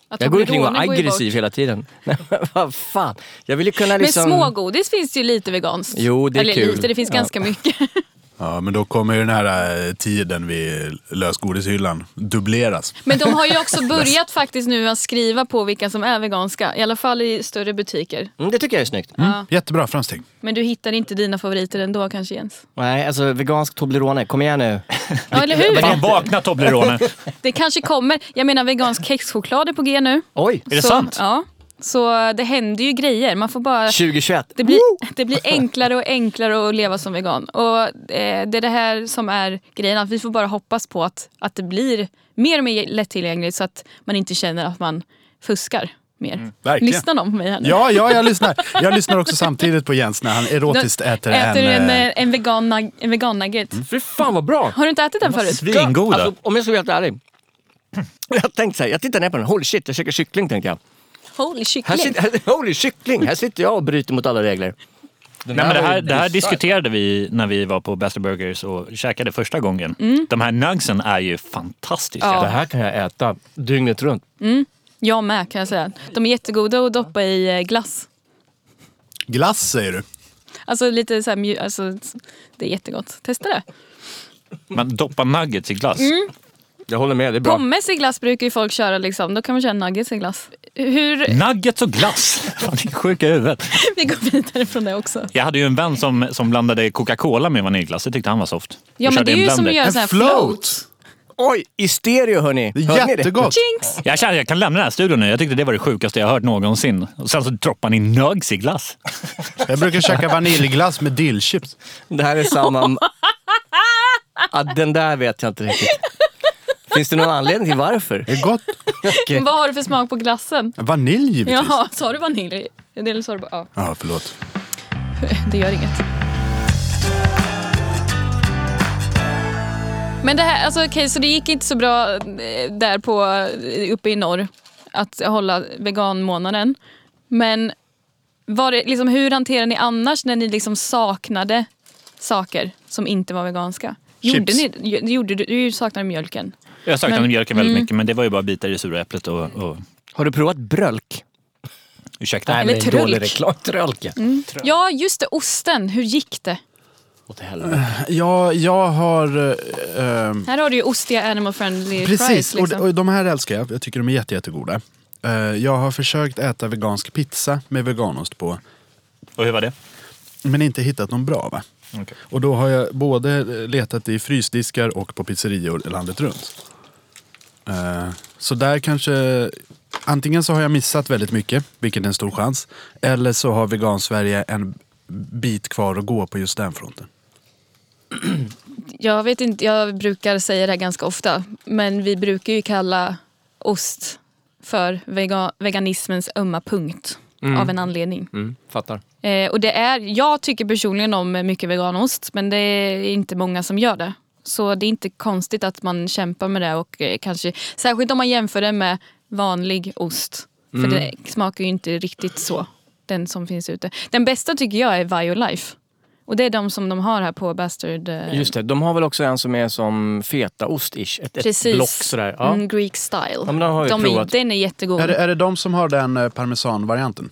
Speaker 3: Att
Speaker 2: Jag går ju kring och är
Speaker 3: Toblerone går ju bort.
Speaker 2: aggressiv hela tiden. Nej, men vad fan. Jag vill ju kunna
Speaker 3: Men
Speaker 2: liksom...
Speaker 3: smågodis finns det ju lite veganskt.
Speaker 2: Jo, det är
Speaker 3: Eller
Speaker 2: kul.
Speaker 3: lite, det finns
Speaker 2: Ja.
Speaker 3: ganska mycket.
Speaker 1: Ja, men då kommer ju den här eh, tiden vid lösgodishyllan dubbleras.
Speaker 3: Men de har ju också börjat faktiskt nu att skriva på vilka som är veganska. I alla fall i större butiker.
Speaker 2: Mm, det tycker jag är snyggt.
Speaker 1: Jättebra framsteg.
Speaker 3: Men du hittar inte dina favoriter ändå kanske Jens?
Speaker 2: Nej, alltså vegansk Toblerone. Kom igen nu.
Speaker 3: Ja, eller
Speaker 8: Fan,
Speaker 3: hur?
Speaker 8: vakna Toblerone!
Speaker 3: Det kanske kommer. Jag menar vegansk kexchoklad är på g nu.
Speaker 2: Oj!
Speaker 8: Är det
Speaker 3: så,
Speaker 8: sant?
Speaker 3: Ja. Så det händer ju grejer. Man får bara...
Speaker 2: 2021.
Speaker 3: Det blir, det blir enklare och enklare att leva som vegan. Och eh, Det är det här som är grejen. Att vi får bara hoppas på att, att det blir mer och mer lättillgängligt så att man inte känner att man fuskar mer.
Speaker 1: verkligen.
Speaker 3: Lyssnar någon på mig här nu?
Speaker 1: Ja, ja, jag lyssnar. Jag lyssnar också samtidigt på Jens när han erotiskt äter,
Speaker 3: Äter en,
Speaker 1: eh,
Speaker 3: eh, en, vegan, nug- en vegan nugget.
Speaker 2: Fy fan Mm. vad bra!
Speaker 3: Har du inte ätit den förut?
Speaker 8: Svingoda!
Speaker 2: Alltså, om jag ska vara helt ärlig. Jag tänkte så här, jag tittar ner på den, holy shit, jag käkar kyckling tänkte jag.
Speaker 3: Holy
Speaker 2: Här
Speaker 3: kyckling.
Speaker 2: sit, holy kyckling, här sitter jag och bryter mot alla regler.
Speaker 9: Den
Speaker 8: Nej, men det,
Speaker 9: var ju
Speaker 8: här, det här
Speaker 9: bisarrt.
Speaker 8: diskuterade vi när vi var på Best of Burgers och käkade första gången. De här nuggetsen är ju fantastiska.
Speaker 3: Mm. Ja.
Speaker 8: Ja.
Speaker 9: Det här kan jag äta.
Speaker 2: Dygnet runt.
Speaker 3: Jag med kan jag säga. De är jättegoda att doppa i eh, glass.
Speaker 1: Glass säger du?
Speaker 3: Alltså lite så här mju- alltså, det är jättegott. Testa det.
Speaker 8: Man doppar nuggets i glass.
Speaker 3: Mm.
Speaker 5: Jag håller med, det är bra.
Speaker 3: Pommes i glass brukar ju folk köra liksom. Då kan man köra nuggets i glass. Hur...
Speaker 8: Nuggets och glass! Fan, ni är sjuka i huvudet.
Speaker 3: Vi går vidare från det också.
Speaker 8: Jag hade ju en vän som, som blandade Coca-Cola med vaniljglass. Det tyckte han var soft.
Speaker 3: Ja men
Speaker 8: Och körde
Speaker 3: det är
Speaker 8: en
Speaker 3: ju som att
Speaker 8: blender.
Speaker 3: göra
Speaker 1: En
Speaker 3: sån här float.
Speaker 1: float!
Speaker 2: Oj, i stereo hörni!
Speaker 1: Det
Speaker 2: Hörde
Speaker 1: är
Speaker 2: ni det?
Speaker 1: jättegott!
Speaker 3: Jinx!
Speaker 8: jag, känner, jag kan lämna den här studion nu. Jag tyckte det var det sjukaste jag hört någonsin. Och sen så droppar ni nugs i glass.
Speaker 1: Jag brukar käka vaniljglass med dillchips.
Speaker 2: Det här är samma... Ja, den där vet jag inte riktigt. Finns det någon anledning till varför?
Speaker 1: Det är gott.
Speaker 2: Okej.
Speaker 3: Vad har du för smak på glassen?
Speaker 1: Vanilj givetvis.
Speaker 3: Jaha, sa du vanilj? Eller sa du bara... Ja,
Speaker 1: Ja, förlåt.
Speaker 3: det gör inget. Men det här, alltså okej, så det gick inte så bra eh, där på, eh, uppe i norr att hålla veganmånaden. Men var det, liksom, hur hanterade ni annars när ni liksom saknade saker som inte var veganska? Gjorde
Speaker 1: Chips.
Speaker 3: ni, ju- gjorde, du, du saknade mjölken.
Speaker 8: Jag saknade
Speaker 3: Men-
Speaker 8: mjölken väldigt mycket, men det var ju bara bitar i det sura äpplet och... och
Speaker 2: Har du provat brölk?
Speaker 8: ursäkta.
Speaker 3: Eller
Speaker 9: men det är en dålig
Speaker 3: trölk.
Speaker 9: reklam. Trölk, ja.
Speaker 2: Mm.
Speaker 3: Ja, just det, osten. Hur gick det?
Speaker 2: Åt helvete.
Speaker 1: Ja, jag har... eh, ehm,
Speaker 3: Här har du ju ostiga animal friendly
Speaker 1: Precis,
Speaker 3: fries. Liksom.
Speaker 1: och, och de här älskar jag. Jag tycker de är jätte, jättegoda. Eh, jag har försökt äta vegansk pizza med veganost på,
Speaker 8: Och hur var det?
Speaker 1: men inte hittat någon bra. Va?
Speaker 8: Okej.
Speaker 1: Och då har jag både letat i frysdiskar och på pizzerior landet runt. Eh, så där kanske... Antingen så har jag missat väldigt mycket, vilket är en stor chans. Eller så har Vegansverige en bit kvar att gå på just den fronten.
Speaker 3: Jag vet inte, jag brukar säga det här ganska ofta. Men vi brukar ju kalla ost för vega, veganismens ömma punkt. Av en anledning.
Speaker 5: Mm, fattar.
Speaker 3: Eh, och det är, jag tycker personligen om mycket veganost. Men det är inte många som gör det. Så det är inte konstigt att man kämpar med det. Och eh, kanske, särskilt om man jämför det med vanlig ost.
Speaker 2: Mm.
Speaker 3: För det smakar ju inte riktigt så. Den som finns ute. Den bästa tycker jag är Violife. Och det är de som de har här på Bastard. eh,
Speaker 2: Just det, de har väl också en som är som fetaost-ish. Ett,
Speaker 3: Precis.
Speaker 2: ett block sådär. Ja.
Speaker 3: Mm, Greek style.
Speaker 2: men den har jag
Speaker 3: de
Speaker 2: provat.
Speaker 3: Är, den är jättegod.
Speaker 1: Är, det, är det de som har den eh, parmesanvarianten?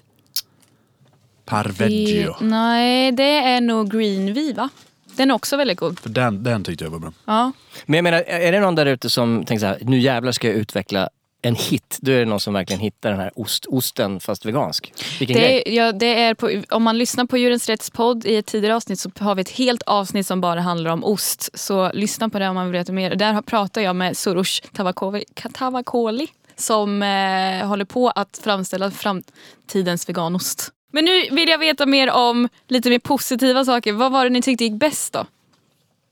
Speaker 1: Parveggio.
Speaker 3: I- Nej, det är nog green V, va? Den är också väldigt god.
Speaker 1: För den, den tyckte jag var bra.
Speaker 3: Ja.
Speaker 2: Men jag menar, är det någon där ute som tänker så här, nu jävlar ska jag utveckla en hit. Då är det någon som verkligen hittar den här ost, osten fast vegansk. Vilken grej.
Speaker 3: Det, är- ja, det är på, om man lyssnar på Djurens Rätts podd i ett tidigare avsnitt så har vi ett helt avsnitt som bara handlar om ost. Så lyssna på det om man vill veta mer. Där har- pratar jag med Soros Tavakoli, Tavakoli som eh, håller på att framställa framtidens veganost. Men nu vill jag veta mer om lite mer positiva saker. Vad var det ni tyckte gick bäst då?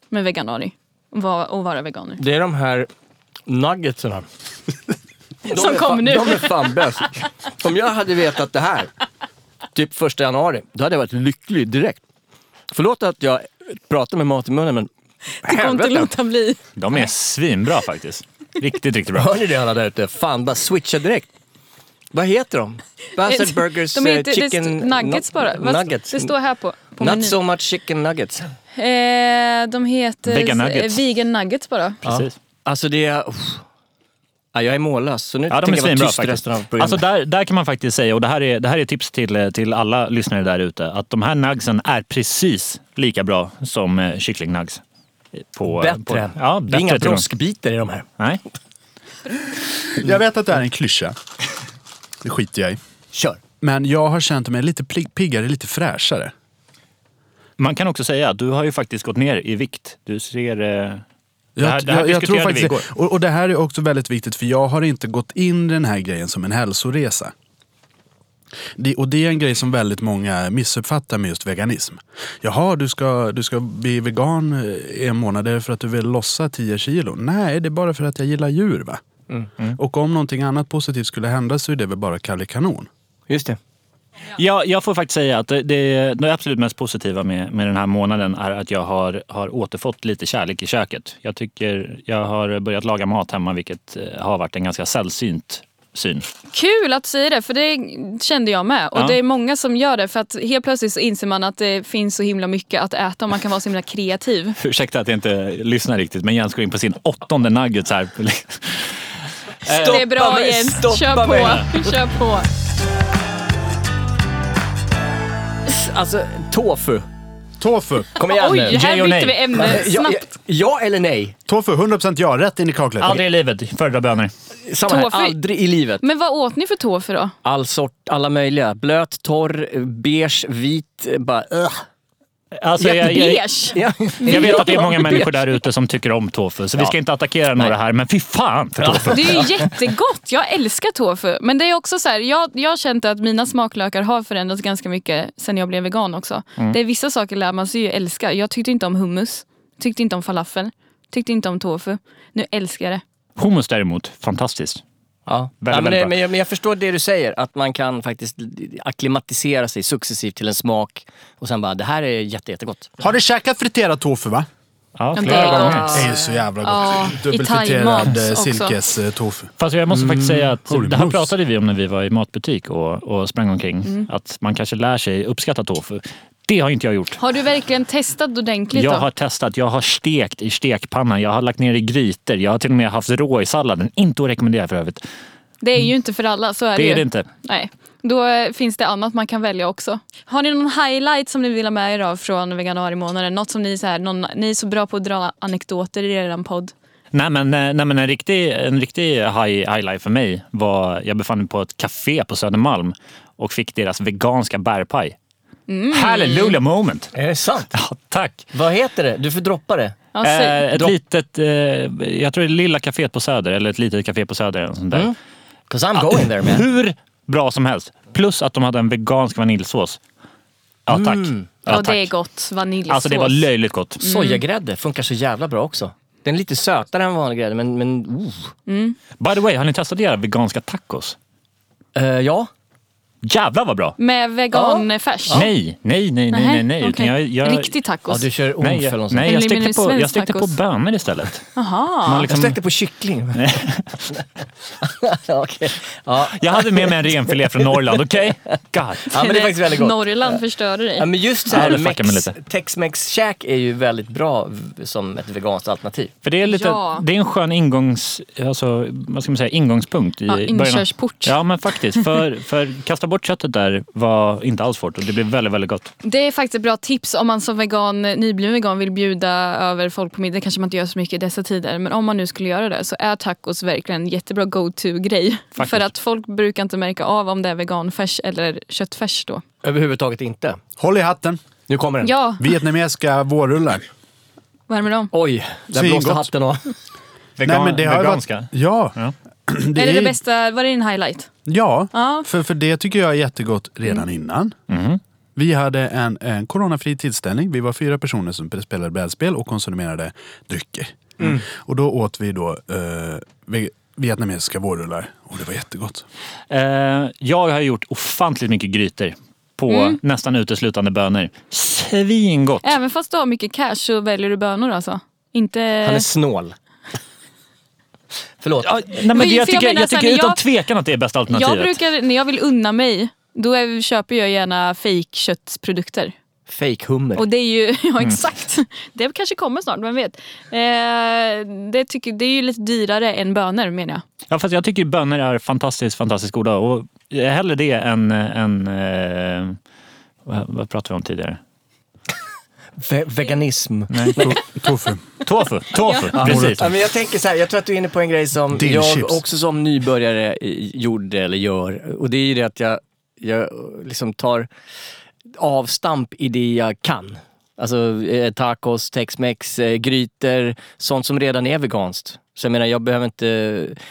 Speaker 3: Med veganari? Och va- och vara veganer.
Speaker 5: Det är de här nuggetsen.
Speaker 3: Som kom nu.
Speaker 2: De är fan bäst. Om jag hade vetat det här, typ första januari, då hade jag varit lycklig direkt. Förlåt att jag pratar med mat i munnen, men
Speaker 3: Det går inte att
Speaker 2: helvete.
Speaker 3: låta bli.
Speaker 8: De är svinbra faktiskt. Riktigt, riktigt bra.
Speaker 2: Hör ni det alla där ute? Fan, bara switcha direkt. Vad heter de? Bastard Burgers
Speaker 3: De är
Speaker 2: eh,
Speaker 3: inte,
Speaker 2: Chicken...
Speaker 3: det st- nuggets
Speaker 2: nu-
Speaker 3: bara. Vad st-
Speaker 2: Nuggets.
Speaker 3: Det står här på, på menyn.
Speaker 2: Not so much chicken nuggets.
Speaker 3: Eh, de heter
Speaker 8: Vegan nuggets.
Speaker 3: eh, vegan nuggets bara.
Speaker 8: Precis.
Speaker 2: Alltså det är... uff. Ja, jag är mållös, så nu
Speaker 8: Ja, de är
Speaker 2: tänker jag vara
Speaker 8: svinbra
Speaker 2: tyst
Speaker 8: faktiskt.
Speaker 2: resten av programmet.
Speaker 8: Alltså där, där kan man faktiskt säga, och det här är, det här är tips till, eh, till alla lyssnare där ute, att de här nugsen är precis lika bra som eh, kycklingnugs. På, På,
Speaker 2: bättre.
Speaker 8: ja,
Speaker 2: det är
Speaker 8: bättre
Speaker 2: inga
Speaker 8: till och med.
Speaker 2: broskbitar i de här.
Speaker 8: Nej.
Speaker 1: Jag vet att det är en klyscha. Det skiter jag i.
Speaker 2: Kör.
Speaker 1: Men jag har känt mig lite pli- piggare, lite fräschare.
Speaker 8: Man kan också säga att du har ju faktiskt gått ner i vikt. Du ser... eh, Det
Speaker 1: Jag,
Speaker 8: här, det här
Speaker 1: jag, jag tror
Speaker 8: diskuterade vi
Speaker 1: faktiskt
Speaker 8: igår.
Speaker 1: det. Och, och det här är också väldigt viktigt för jag har inte gått in i den här grejen som en hälsoresa. Det, och det är en grej som väldigt många missuppfattar med just veganism. Jaha, du ska, du ska bli vegan eh, i en månad för att du vill lossa 10 kilo. Nej, det är bara för att jag gillar djur va? Och om någonting annat positivt skulle hända så är det väl bara Kalle Kanon.
Speaker 2: Just det.
Speaker 8: Ja, jag får faktiskt säga att det, det, det absolut mest positiva med, med den här månaden är att jag har, har återfått lite kärlek i köket. Jag tycker jag har börjat laga mat hemma, vilket eh, har varit en ganska sällsynt syn.
Speaker 3: Kul att säga det, för det kände jag med. Och
Speaker 8: Ja.
Speaker 3: det är många som gör det, för att helt plötsligt så inser man att det finns så himla mycket att äta och man kan vara så himla kreativ.
Speaker 8: Ursäkta att jag inte lyssnar riktigt, men Jens går in på sin åttonde nugget. Så här.
Speaker 2: Eh,
Speaker 3: det är bra Jens, kör på. kör på.
Speaker 2: Alltså, tofu.
Speaker 1: Tofu.
Speaker 2: Kom igen
Speaker 3: Oj,
Speaker 2: nu.
Speaker 3: här
Speaker 8: yay och
Speaker 3: bytte
Speaker 8: nej.
Speaker 3: vi ämne
Speaker 2: Ja, ja,
Speaker 3: snabbt.
Speaker 2: ja eller nej?
Speaker 1: Tofu, 100% ja. Rätt in i kaklet.
Speaker 8: Aldrig i livet, föredrar bönor.
Speaker 2: Samma här,
Speaker 3: Tofu.
Speaker 2: aldrig i livet.
Speaker 3: Men vad åt ni för tofu då?
Speaker 2: All sort, alla möjliga. Blöt, torr, beige, vit. eh, Bara, ugh.
Speaker 8: Alltså, jag, jag,
Speaker 3: Beige?
Speaker 2: Ja.
Speaker 8: jag vet att det är många människor där ute som tycker om tofu, så vi ska inte attackera några här. Men fy fan för tofu!
Speaker 3: Det är ju jättegott. Jag älskar tofu. Men det är också så här, jag, jag har känt att mina smaklökar har förändrats ganska mycket sen jag blev vegan också.
Speaker 8: Mm.
Speaker 3: Det är vissa saker lär man sig ju älska. Jag tyckte inte om hummus, tyckte inte om falafel, tyckte inte om tofu. Nu älskar jag det.
Speaker 8: Hummus däremot, fantastiskt.
Speaker 2: Ja.
Speaker 8: Väldigt,
Speaker 2: ja, men,
Speaker 8: väldigt
Speaker 2: det,
Speaker 8: bra.
Speaker 2: men, jag, men jag förstår det du säger, att man kan faktiskt akklimatisera sig successivt till en smak och sen bara, det här är jätte, jättegott.
Speaker 1: Har du käkat friterad tofu va?
Speaker 8: Ja,
Speaker 3: Men
Speaker 8: flera
Speaker 3: det är
Speaker 8: gånger.
Speaker 3: gott.
Speaker 1: Det är ju så jävla gott.
Speaker 3: Ja, i
Speaker 1: Dubbelfriterad
Speaker 3: thai-mat
Speaker 1: eh,
Speaker 3: också.
Speaker 1: silkes eh, tofu.
Speaker 8: Fast jag måste faktiskt säga att
Speaker 1: Mm. holy
Speaker 8: det här
Speaker 1: moose.
Speaker 8: pratade vi om när vi var i matbutik och, och sprang omkring.
Speaker 3: Mm.
Speaker 8: Att man kanske lär sig uppskatta tofu. Det har inte jag gjort.
Speaker 3: Har du verkligen testat ordentligt
Speaker 8: Jag
Speaker 3: då?
Speaker 8: har testat, jag har stekt i stekpannan, jag har lagt ner i grytor, jag har till och med haft rå i salladen. Inte att rekommendera för övrigt.
Speaker 3: Det är ju inte för alla, så är det,
Speaker 8: Det
Speaker 3: ju.
Speaker 8: är det inte.
Speaker 3: Nej. Då eh, finns det annat man kan välja också. Har ni någon highlight som ni vill ha med er av från veganuarimånaden? Något som ni, är så här, någon, ni är så bra på att dra anekdoter i er podd.
Speaker 8: Nej men, eh, nej, men en riktig, en riktig high, highlight för mig var, jag befann mig på ett café på Södermalm och fick deras veganska bärpaj.
Speaker 3: Mm.
Speaker 8: Hallelujah moment!
Speaker 2: Är det sant?
Speaker 8: Ja, tack!
Speaker 2: Vad heter det? Du får droppa det.
Speaker 3: Ja, säg.
Speaker 8: Eh, ett
Speaker 2: Dropp.
Speaker 8: litet, eh, jag tror det är Lilla Caféet på Söder, eller ett litet café på Söder. eller Sånt där.
Speaker 2: Mm. 'Cause I'm going there man.
Speaker 8: Hur bra som helst. Plus att de hade en vegansk vaniljsås. Ja, tack.
Speaker 2: Mm.
Speaker 8: Ja,
Speaker 3: Ja,
Speaker 8: tack.
Speaker 3: det är gott. Vaniljsås. Mm.
Speaker 8: Alltså det var löjligt gott.
Speaker 2: Sojagrädde funkar så jävla bra också. Den är lite sötare än vanlig grädde, men, men oh.
Speaker 8: By the way, har ni testat era veganska tacos?
Speaker 2: Eh, ja.
Speaker 8: Jävlar vad bra!
Speaker 3: Med veganfärs.
Speaker 8: Nej, nej, nej, nej, nej, nej.
Speaker 3: okej.
Speaker 8: utan Jag, jag,
Speaker 3: Riktig
Speaker 2: ja,
Speaker 3: tacos.
Speaker 2: du kör omf
Speaker 8: nej,
Speaker 2: eller något
Speaker 8: jag,
Speaker 2: sånt.
Speaker 8: nej, jag stekte på, jag
Speaker 3: svensk
Speaker 8: stekte på
Speaker 3: tacos.
Speaker 8: bönor istället.
Speaker 3: Jaha.
Speaker 8: Man
Speaker 2: Jag
Speaker 8: liksom,
Speaker 2: stekte på kyckling. ja, okej. ja.
Speaker 8: jag hade med mig en renfilé från Norrland, okej? God.
Speaker 2: ja, men det är faktiskt väldigt gott.
Speaker 3: Norrland förstörde dig.
Speaker 2: Ja, men just så här,
Speaker 8: Ja, det fuckar mig
Speaker 2: mex,
Speaker 8: lite.
Speaker 2: Tex-Mex-käk är ju väldigt bra v- som ett veganskt alternativ.
Speaker 8: För det är, lite,
Speaker 3: Ja.
Speaker 8: det är en skön ingångs, alltså, vad ska man säga, ingångspunkt. I
Speaker 3: Ja,
Speaker 8: början av-
Speaker 3: inkörsport.
Speaker 8: Ja, men faktiskt. För, för kasta bort köttet där var inte alls svårt och det blev väldigt, väldigt gott.
Speaker 3: Det är faktiskt ett bra tips om man som vegan, nybliven vegan vill bjuda över folk på middag. Det kanske man inte gör så mycket i dessa tider. Men om man nu skulle göra det så är tacos verkligen en jättebra go-to-grej. För att folk brukar inte märka av om det är veganfärs eller köttfärs då.
Speaker 2: Överhuvudtaget inte.
Speaker 1: Håll i hatten.
Speaker 2: Nu kommer den.
Speaker 3: Ja,
Speaker 1: Vietnamesiska vårrullar.
Speaker 3: vad är det med dem?
Speaker 2: Oj, där
Speaker 1: Svingott.
Speaker 2: blåste hatten av.
Speaker 1: Nej, men det har ju
Speaker 8: veganska.
Speaker 1: Varit, ja.
Speaker 8: Ja.
Speaker 3: är det
Speaker 1: är-
Speaker 3: det bästa? Var det din highlight?
Speaker 1: Ja,
Speaker 3: Ja. Mm.
Speaker 1: För, för det tycker jag är jättegott redan innan.
Speaker 8: Mhm.
Speaker 1: Vi hade en, en coronafri tillställning. Vi var fyra personer som spelade brädspel och konsumerade drycker.
Speaker 8: Mm.
Speaker 1: Och då åt vi då eh, ve- vietnamesiska vårrullar och det var jättegott.
Speaker 8: Eh, jag har gjort ofantligt mycket grytor på
Speaker 3: Mm.
Speaker 8: nästan uteslutande bönor. Svingott!
Speaker 3: Även fast du har mycket cash så väljer du bönor alltså? Inte...
Speaker 2: Han är snål. Förlåt.
Speaker 8: Ja, nej, men
Speaker 3: Men-
Speaker 8: det- jag
Speaker 3: för jag
Speaker 8: tycker, jag
Speaker 3: menar så här,
Speaker 8: tycker
Speaker 3: när
Speaker 8: utan
Speaker 3: jag-
Speaker 8: tvekan att det är bästa alternativet.
Speaker 3: Jag brukar, när jag vill unna mig, då är, köper jag gärna fejkköttsprodukter.
Speaker 2: Fake hummer.
Speaker 3: Och det är ju, ja exakt. Det kanske kommer snart, vem vet. Eh, det, tycker, det är ju lite dyrare än bönor menar jag.
Speaker 8: Ja, fast jag tycker bönor är fantastiskt, fantastiskt goda. Och eh, hellre det än... än eh, vad, vad pratade vi om tidigare?
Speaker 2: Ve- veganism.
Speaker 8: Nej, to-
Speaker 1: Tofu.
Speaker 8: tofu! Tofu! Precis.
Speaker 2: Ja, men jag tänker så här, jag tror att du är inne på en grej som
Speaker 1: Dill
Speaker 2: jag
Speaker 1: chips.
Speaker 2: också som nybörjare eh, gjorde eller gör. Och det är ju det att jag, jag liksom tar avstamp i det jag kan. Alltså eh, tacos, tex-mex, eh, grytor, sånt som redan är veganskt. Så jag menar, jag behöver inte...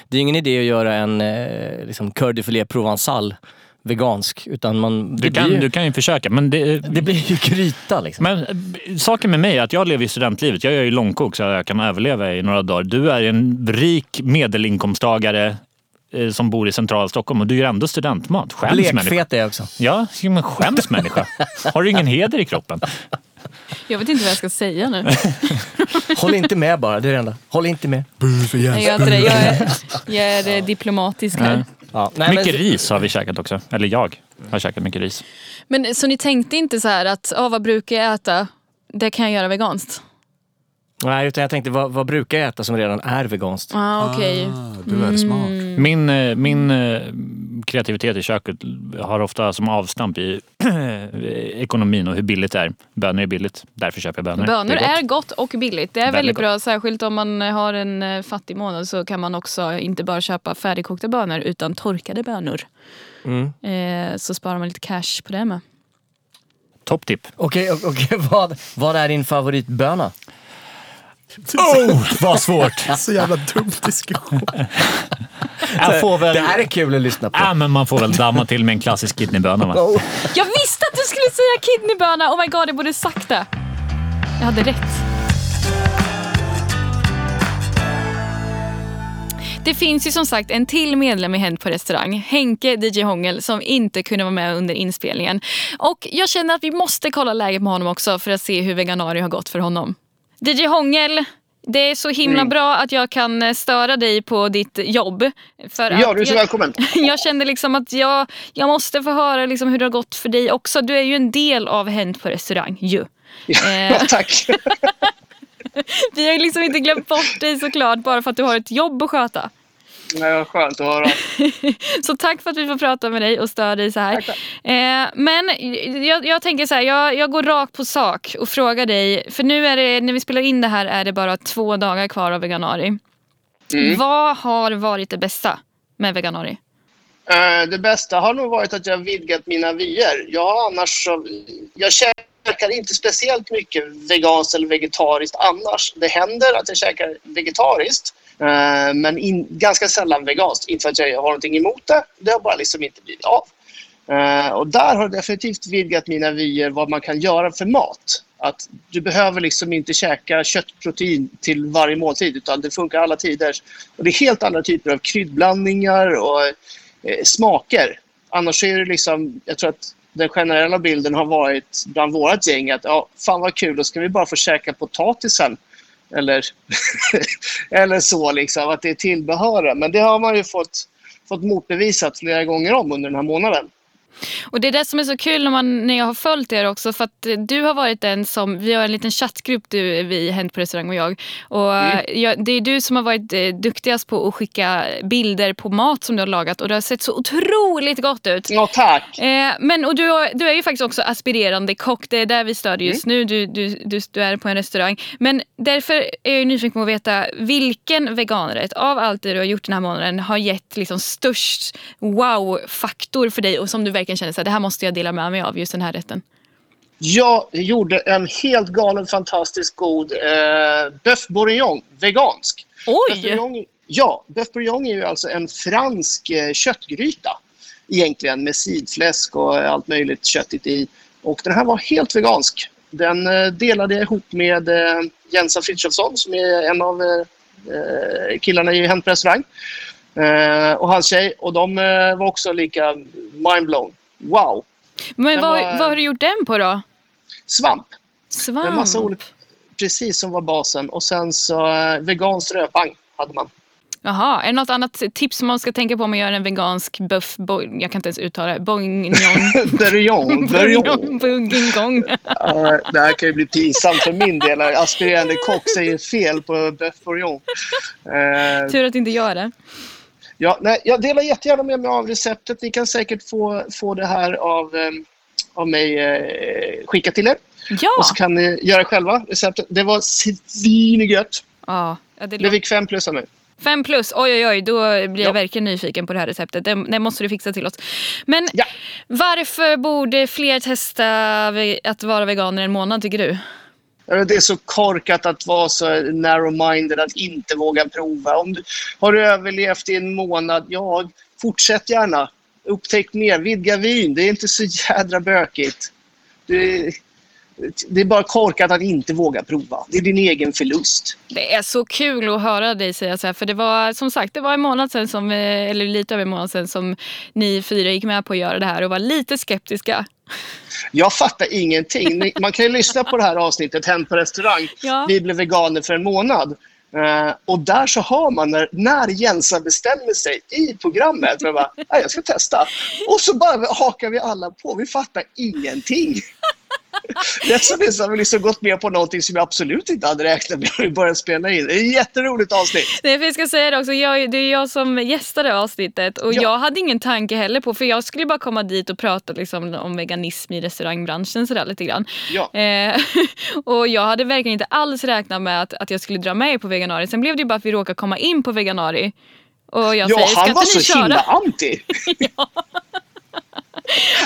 Speaker 2: Det är ingen idé att göra en eh, liksom, coeur de filet provençal vegansk. Utan man, det,
Speaker 8: Du kan,
Speaker 2: blir, ju-
Speaker 8: du kan ju försöka, men det,
Speaker 2: det blir ju gryta liksom.
Speaker 8: Men eh, saken med mig är att jag lever i studentlivet. Jag gör ju långkok så jag kan överleva i några dagar. Du är en rik medelinkomsttagare eh, som bor i centrala Stockholm och du gör ändå studentmat. Skäms människa.
Speaker 2: Blekfet är jag också.
Speaker 8: Ja, men skäms människa. Har du ingen heder i kroppen?
Speaker 3: Jag vet inte vad jag ska säga nu.
Speaker 2: Håll inte med bara, det är det enda. Håll inte med.
Speaker 1: Bu för
Speaker 3: Nej, jag, är
Speaker 1: jävla-
Speaker 3: inte det. jag är, jag är eh, diplomatisk här.
Speaker 2: Ja. Nej,
Speaker 8: mycket
Speaker 2: men,
Speaker 8: ris har vi käkat också. Eller jag har käkat mycket ris.
Speaker 3: Men så ni tänkte inte så här att, ah, vad brukar jag äta? Det kan jag göra veganskt.
Speaker 2: nej, utan jag tänkte, vad, vad brukar jag äta som redan är veganskt?
Speaker 3: Ah, okej.
Speaker 1: Ah, du är smart.
Speaker 8: Min, eh, min eh, kreativitet i köket har ofta som avstamp i ekonomin och hur billigt det är. Bönor är billigt, därför köper jag bönor.
Speaker 3: Bönor
Speaker 8: Det
Speaker 3: är
Speaker 8: gott.
Speaker 3: gott och billigt. Det är väldigt,
Speaker 8: Väldigt gott.
Speaker 3: bra, särskilt om man har en eh, fattig månad så kan man också inte bara köpa färdigkokta bönor utan torkade bönor.
Speaker 2: Mm.
Speaker 3: Eh, så sparar man lite cash på det med.
Speaker 8: Topptipp.
Speaker 2: Okej, och- okej, vad, vad är din favoritböna?
Speaker 8: Oh, vad svårt!
Speaker 1: Så jävla dum diskussion.
Speaker 8: Jag får väl...
Speaker 2: Det här är kul att lyssna på.
Speaker 8: Ja, men man får väl damma till med en klassisk kidneyböna va?
Speaker 3: Jag visste att du skulle säga kidneyböna! Oh my god, jag borde sagt det. Jag hade rätt. Det finns ju som sagt en till medlem i Hänt på restaurang, Henke DJ Hångel, som inte kunde vara med under inspelningen. Och jag känner att vi måste kolla läget med honom också för att se hur veganari har gått för honom. DJ Hångel, det är så himla
Speaker 10: Mm.
Speaker 3: bra att jag kan eh, störa dig på ditt jobb. För
Speaker 10: Ja,
Speaker 3: att
Speaker 10: du är så
Speaker 3: jag-
Speaker 10: välkommen.
Speaker 3: jag kände liksom att jag, jag måste få höra liksom hur det har gått för dig också. Du är ju en del av Hänt på restaurang ju. Eh,
Speaker 10: Ja, tack.
Speaker 3: vi har ju liksom inte glömt bort dig såklart bara för att du har ett jobb att sköta.
Speaker 10: Nej, vad skönt att höra.
Speaker 3: Så tack för att vi får prata med dig och störa dig så här. Eh, men jag, jag tänker så här, jag, jag går rakt på sak och frågar dig. För nu är det, när vi spelar in det här är det bara två dagar kvar av veganari. Vad har varit det bästa med veganari?
Speaker 10: Eh, Det bästa har nog varit att jag har vidgat mina vyer. Jag har annars så, Jag käkar inte speciellt mycket veganskt eller vegetariskt annars. Det händer att jag käkar vegetariskt. eh, Men in, ganska sällan veganskt. Inte för att jag har någonting emot det. Det har bara liksom inte blivit av. Eh, Och där har det definitivt vidgat mina vyer vad man kan göra för mat. Att du behöver liksom inte käka köttprotein till varje måltid utan det funkar alla tider. Och det är helt andra typer av kryddblandningar och eh, smaker. Annars är det liksom, jag tror att den generella bilden har varit bland vårat gäng att ja, fan vad kul, då ska vi bara få käka potatisen. Eller, eller så liksom, att det är tillbehören. Men det har man ju fått, fått motbevisat flera gånger om under den här månaden.
Speaker 3: Och Det är det som är så kul när, man, när jag har följt er också. För att eh, Du har varit den som... Vi har en liten chattgrupp, du, vi Hänt på restaurang och jag. Och eh, jag, Det är du som har varit eh, duktigast på att skicka bilder på mat som du har lagat. Och Det har sett så otroligt gott ut.
Speaker 10: Ja, tack.
Speaker 3: Eh, men, och du, har, du är ju faktiskt också aspirerande kock. Det är där vi stöder just
Speaker 10: Mm.
Speaker 3: nu. Du, du, du, du är på en restaurang. Men därför är jag ju nyfiken på att veta vilken veganrätt av allt det du har gjort den här månaden har gett liksom störst wow-faktor för dig och som du verkligen känner så här, det här måste jag dela med mig av, just den här rätten.
Speaker 10: Jag gjorde en helt galen fantastiskt god eh, bœuf bourguignon, vegansk. Bœuf
Speaker 3: Oj!
Speaker 10: bourguignon, ja, bœuf bourguignon är ju alltså en fransk eh, köttgryta egentligen med sidfläsk och allt möjligt köttigt i. Och den här var helt vegansk. Den eh, delade jag ihop med eh, Jensa Frithiofsson som är en av eh, eh, killarna i Hänt på restaurang. Eh, och hans tjej. Och de eh, var också lika mindblown. Wow!
Speaker 3: Men
Speaker 10: den
Speaker 3: vad,
Speaker 10: var-
Speaker 3: vad har du gjort den på då?
Speaker 10: Svamp!
Speaker 3: Svamp?
Speaker 10: En massa olika, precis som var basen. Och sen så eh, vegansk rödpang hade man.
Speaker 3: Jaha, är det något annat tips som man ska tänka på om man gör en vegansk buff... Bo, jag kan inte ens uttala det. Bourguignon.
Speaker 10: Börjong, börjong.
Speaker 3: Bourguignon. Bourguignon.
Speaker 10: Ja, det här kan ju bli pinsamt för min del. Aspirerande kock säger fel på bœuf bourguignon. Eh,
Speaker 3: Tur att inte jag är det.
Speaker 10: ja, nej, jag delar jättegärna med mig av receptet. Ni kan säkert få, få det här av, eh, av mig eh, skickat till er.
Speaker 3: Ja!
Speaker 10: Och så kan ni göra själva receptet. Det var svinigött.
Speaker 3: ja. ja det
Speaker 10: Det
Speaker 3: låter...
Speaker 10: fick fem plus av mig.
Speaker 3: Fem plus, oj oj oj, då blir jag
Speaker 10: Ja.
Speaker 3: verkligen nyfiken på det här receptet. Det, det måste du fixa till oss. Men
Speaker 10: Ja.
Speaker 3: varför borde fler testa ve- att vara veganer en månad tycker du?
Speaker 10: Eller Det är så korkat att vara så narrow-minded, att inte våga prova. Om du har du överlevt i en månad, ja, fortsätt gärna. Upptäck mer, vidga vyn. Det är inte så jädra bökigt. Det är, det är bara korkat att inte våga prova. Det är din egen förlust.
Speaker 3: Det är så kul att höra dig säga så här. För det var som sagt det var en månad sedan, som, eh, eller lite över en månad sedan som ni fyra gick med på att göra det här och var lite skeptiska.
Speaker 10: Jag fattar ingenting. Ni- Man kan ju lyssna på det här avsnittet, Hem på restaurang.
Speaker 3: Ja.
Speaker 10: Vi blev veganer för en månad. Eh, och där så har man när, när Jensa bestämmer sig i programmet, för bara, "Nej, jag ska testa. Och så bara hakar vi alla på, vi fattar ingenting. Rätt som det så har vi liksom gått med på någonting som jag absolut inte hade räknat med när vi började spela in. Det är ett jätteroligt avsnitt.
Speaker 3: Nej, för jag ska säga det också, jag, det är jag som gästade avsnittet och jag hade ingen tanke heller på, för jag skulle bara komma dit och prata liksom, om veganism i restaurangbranschen sådär lite grann.
Speaker 10: Ja.
Speaker 3: Eh, och jag hade verkligen inte alls räknat med att, att jag skulle dra med er på veganari. Sen blev det ju bara att vi råkade komma in på veganari. Och jag
Speaker 10: ja,
Speaker 3: säger, ska
Speaker 10: han
Speaker 3: inte
Speaker 10: var
Speaker 3: ni
Speaker 10: så
Speaker 3: köra?
Speaker 10: himla anti.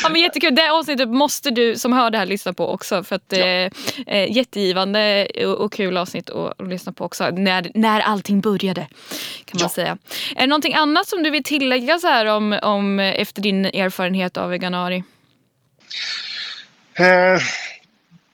Speaker 3: Ja, men jättekul. Det avsnittet måste du som hör det här lyssna på också. För att, eh, eh, jättegivande och, och kul avsnitt att, att lyssna på också. När, när allting började kan man säga. Är det någonting annat som du vill tillägga så här om, om, eh, efter din erfarenhet av veganari?
Speaker 10: Eh,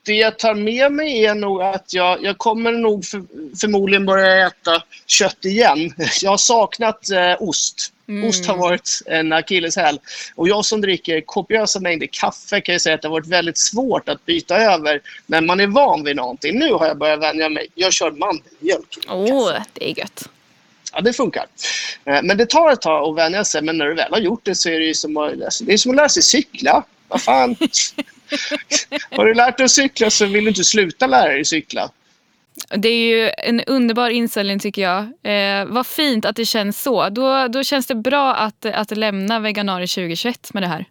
Speaker 10: Det jag tar med mig är nog att jag, jag kommer nog för, förmodligen börja äta kött igen. Jag har saknat eh, ost.
Speaker 11: Mm.
Speaker 10: Ost har varit en akilleshäl. Och jag som dricker kopiösa mängder kaffe kan ju säga att det har varit väldigt svårt att byta över när man är van vid någonting. Nu har jag börjat vänja mig. Jag kör mandelmjölk.
Speaker 3: Åh, det är gött.
Speaker 10: Ja, det funkar. Eh, Men det tar ett tag att vänja sig, men när du väl har gjort det så är det ju som att, alltså, det är som att lära sig cykla. Vad fan? har du lärt dig att cykla så vill du inte sluta lära dig cykla.
Speaker 3: Det är ju en underbar inställning tycker jag. Eh, vad fint att det känns så. Då, då känns det bra att, att lämna veganari 2021 med det här.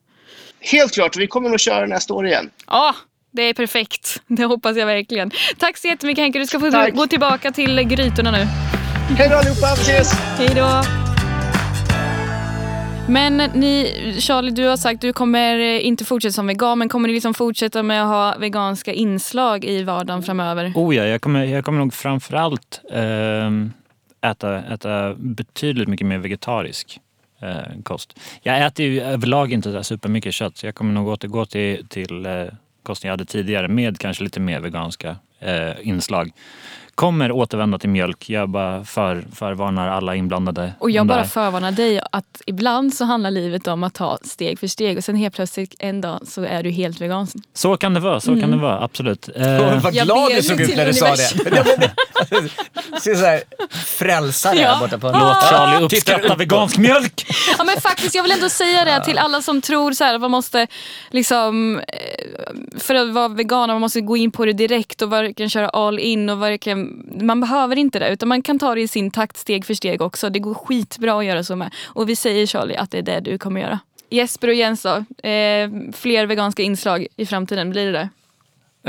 Speaker 10: Helt klart, vi kommer att köra nästa år igen.
Speaker 3: Ja, det är perfekt. Det hoppas jag verkligen. Tack så jättemycket Henke. Du ska få
Speaker 10: Tack.
Speaker 3: gå tillbaka till grytorna nu.
Speaker 10: Hej då allihopa, vi ses!
Speaker 3: Hej då! Men ni, Charlie, du har sagt att du kommer eh, inte fortsätta som vegan, men kommer du liksom fortsätta med att ha veganska inslag i vardagen framöver?
Speaker 8: Oh ja, jag kommer, jag kommer nog framförallt ehm, äta, äta betydligt mycket mer vegetarisk eh, kost. Jag äter ju överlag inte så supermycket kött så jag kommer nog återgå till, till eh, kosten jag hade tidigare med kanske lite mer veganska eh, inslag. Kommer återvända till mjölk. Jag bara för, förvarnar alla inblandade.
Speaker 3: Och jag
Speaker 8: om det
Speaker 3: bara
Speaker 8: här.
Speaker 3: förvarnar dig att ibland så handlar livet om att ta steg för steg och sen helt plötsligt en dag så är du helt vegan.
Speaker 8: Så kan det vara, så kan det
Speaker 3: Mm.
Speaker 8: vara. Absolut. Eh,
Speaker 3: Åh, vad Jag glad ber du såg ju ut till när du sa universum. det.
Speaker 12: Ser så här frälsare
Speaker 3: Ja.
Speaker 12: här borta på
Speaker 3: Låt Charlie
Speaker 8: uppskatta vegansk mjölk!
Speaker 3: Ja men faktiskt, jag vill ändå säga det till alla som tror så här, att man måste liksom, eh, för att vara vegan, man måste gå in på det direkt och verkligen köra all in. Och verkligen, man behöver inte det, utan man kan ta det i sin takt steg för steg också. Det går skitbra att göra så med. Och vi säger Charlie att det är det du kommer göra. Jesper och Jens då, eh, fler veganska inslag i framtiden, blir det det?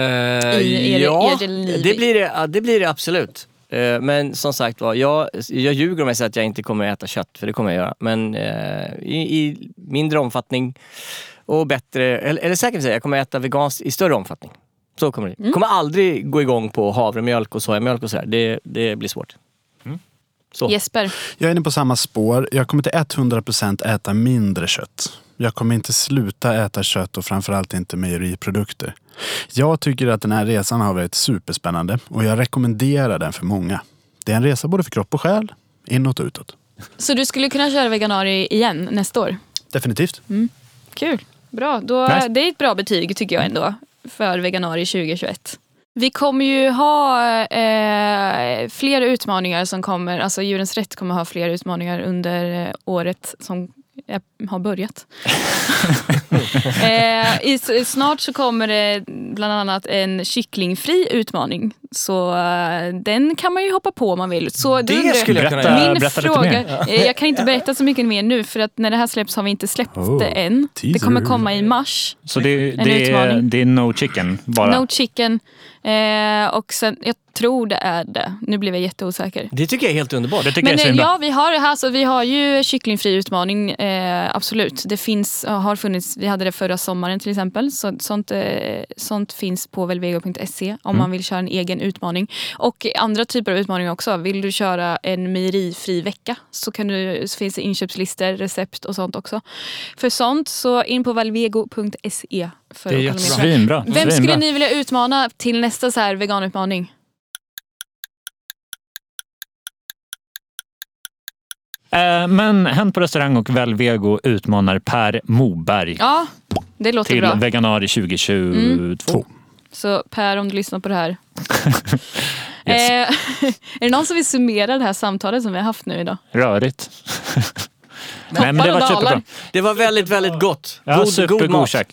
Speaker 2: Eh,
Speaker 3: I er-
Speaker 2: ja,
Speaker 3: er liv.
Speaker 2: det blir det, ja, det blir det absolut. Eh, Men som sagt var, jag, jag ljuger om jag säger att jag inte kommer att äta kött, för det kommer jag göra. Men eh, i, i mindre omfattning och bättre, eller, eller säkert säga, jag kommer att äta veganskt i större omfattning. Så kommer det
Speaker 3: Mm.
Speaker 2: bli. Kommer aldrig gå igång på havremjölk och sojamjölk och sådär. Det, det blir svårt. Så.
Speaker 3: Jesper?
Speaker 1: Jag är inne på samma spår. Jag kommer till 100% äta mindre kött. Jag kommer inte sluta äta kött och framförallt inte mejeriprodukter. Jag tycker att den här resan har varit superspännande och jag rekommenderar den för många. Det är en resa både för kropp och själ, inåt och utåt.
Speaker 3: Så du skulle kunna köra veganari igen nästa år?
Speaker 1: Definitivt.
Speaker 3: Kul. Bra. Då,
Speaker 1: Nice.
Speaker 3: Det är ett bra betyg tycker jag ändå för veganari 2021. Vi kommer ju ha eh, fler utmaningar som kommer. Alltså Djurens Rätt kommer ha fler utmaningar under eh, året som eh, har börjat. eh, i, s- snart så kommer det bland annat en kycklingfri utmaning. Så eh, den kan man ju hoppa på om man vill. Så då
Speaker 12: Det
Speaker 3: undrar-
Speaker 12: skulle jag kunna
Speaker 8: Äh,
Speaker 12: göra.
Speaker 3: Min
Speaker 12: Berätta lite
Speaker 3: fråga,
Speaker 12: mer.
Speaker 3: eh, jag kan inte berätta så mycket mer nu för att när det här släpps har vi inte släppt det
Speaker 8: Oh,
Speaker 3: än. Det
Speaker 8: teaser.
Speaker 3: kommer komma i mars.
Speaker 8: Så det,
Speaker 3: En
Speaker 8: det, är,
Speaker 3: utmaning.
Speaker 8: det är no chicken bara.
Speaker 3: No chicken. Eh, och sen, jag tror det är det. Nu blev jag jätteosäker.
Speaker 2: Det tycker jag är helt underbart. Det
Speaker 3: Men eh, ja, vi har det här. Så vi har ju kycklingfri utmaning, eh, absolut. Det finns, eh, har funnits, vi hade det förra sommaren till exempel. Så, sånt, eh, sånt finns på velvego.se om
Speaker 13: Mm.
Speaker 3: man vill köra en egen utmaning. Och andra typer av utmaningar också. Vill du köra en mejerifri vecka så, kan du, så finns det inköpslistor, recept och sånt också. För sånt så in på valvego.se. För
Speaker 8: Det är
Speaker 3: att kolla
Speaker 8: jättebra.
Speaker 3: mer.
Speaker 8: Svinbra.
Speaker 3: Vem
Speaker 8: Svinbra.
Speaker 3: skulle ni vilja utmana till nästa så här veganutmaning?
Speaker 8: Eh, Men Hänt på restaurang och Väl Vego utmanar Per Moberg
Speaker 3: Ja, det låter
Speaker 8: till
Speaker 3: bra.
Speaker 8: Veganari 2022.
Speaker 3: Mm. Så Per, om du lyssnar på det här.
Speaker 8: Yes.
Speaker 3: Eh, är det någon som vill summera det här samtalet som vi har haft nu idag?
Speaker 8: Rörigt. Nej,
Speaker 3: Toppar och
Speaker 8: var
Speaker 3: dalar.
Speaker 8: jättebra.
Speaker 2: Det var väldigt, väldigt gott.
Speaker 8: Ja,
Speaker 2: god, god
Speaker 8: supergod
Speaker 2: mat.
Speaker 8: käk.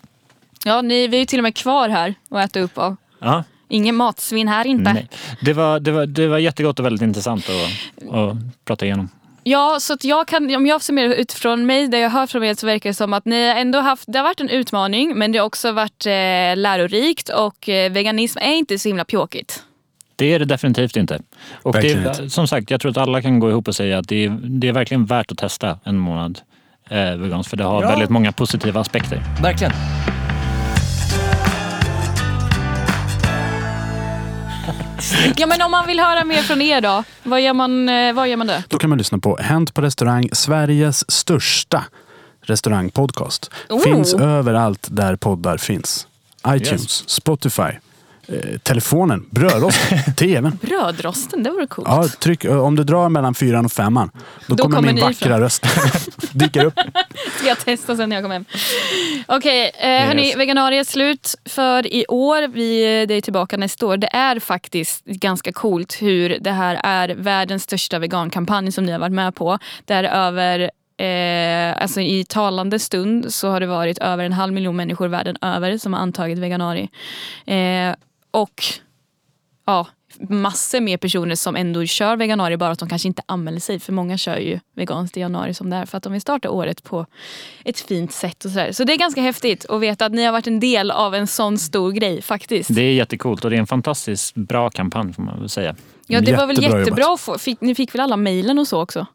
Speaker 3: Ja, ni, vi är ju till och med kvar här och äta upp av.
Speaker 8: Ja.
Speaker 3: Ingen matsvinn här inte.
Speaker 8: Nej. Det, var, det, var, det var jättegott och väldigt intressant att, att prata igenom.
Speaker 3: Ja, så att jag kan, om jag summerar utifrån mig, det jag hör från er så verkar det som att ni har ändå haft, det har varit en utmaning men det har också varit eh, lärorikt och eh, veganism är inte så himla pjåkigt.
Speaker 8: Det är det definitivt inte. Och det
Speaker 1: Verkligen
Speaker 8: är, som sagt, jag tror att alla kan gå ihop och säga att det är, det är verkligen värt att testa en månad eh, veganskt, för det har
Speaker 2: Ja.
Speaker 8: väldigt många positiva aspekter.
Speaker 2: Verkligen.
Speaker 3: Ja men om man vill höra mer från er då, vad gör man, eh, vad gör man då?
Speaker 1: Då kan man lyssna på Hänt på restaurang, Sveriges största restaurangpodcast.
Speaker 3: Oh.
Speaker 1: Finns överallt där poddar finns. iTunes, Spotify, eh, telefonen, brödrosten, tvn.
Speaker 3: Brödrosten, det vore coolt.
Speaker 1: Ja, tryck, ö, om du drar mellan fyran och femman, då,
Speaker 3: Då
Speaker 1: kommer,
Speaker 3: kommer
Speaker 1: min
Speaker 3: ni
Speaker 1: vackra
Speaker 3: fram.
Speaker 1: röst dyker upp.
Speaker 3: Ska jag testa sen när jag kommer hem. Okej, eh, hörni,
Speaker 1: Yes.
Speaker 3: veganarier är slut för i år. Vi, det är tillbaka nästa år. Det är faktiskt ganska coolt hur det här är världens största vegankampanj som ni har varit med på. Där över Eh, alltså I talande stund så har det varit över en halv miljon människor världen över som har antagit veganari. Eh, och ja, massor med personer som ändå kör veganari bara att de kanske inte anmäler sig. För många kör ju veganskt i januari som det är för att de vill starta året på ett fint sätt. och sådär. Så det är ganska häftigt att veta att ni har varit en del av en sån stor grej faktiskt.
Speaker 8: Det är jättecoolt och det är en fantastiskt bra kampanj får man väl säga.
Speaker 3: Ja, det var väl jättebra att få, fick, ni fick väl alla mejlen och så också?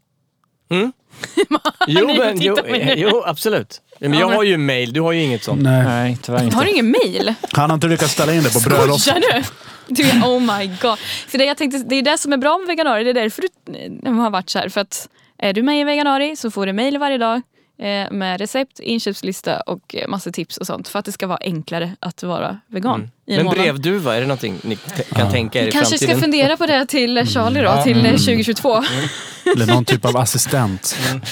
Speaker 2: Jo,
Speaker 3: Ni
Speaker 2: men, jo,
Speaker 3: tittar på mig nu.
Speaker 2: jo, absolut. Men jag har ju mail, du har ju inget sånt.
Speaker 1: Nej.
Speaker 8: tyvärr
Speaker 3: Har du ingen mejl?
Speaker 1: Han har inte lyckats ställa in det på brödrosten.
Speaker 3: Skojar du? du? Oh my god. För det, jag tänkte, det är det som är bra med veganari. Det är därför du de har varit så här. För att är du med i veganari så får du mejl varje dag eh, med recept, inköpslista och eh, massa tips och sånt. För att det ska vara enklare att vara vegan i en
Speaker 2: Mm. Men
Speaker 3: månad.
Speaker 2: brevduva, är det någonting ni t- kan tänka er i
Speaker 3: Kanske
Speaker 2: framtiden?
Speaker 3: ska fundera på det till Charlie då,
Speaker 2: Ja.
Speaker 3: till eh,
Speaker 2: Mm.
Speaker 3: 2022.
Speaker 1: Eller någon typ av assistent.
Speaker 8: Mm.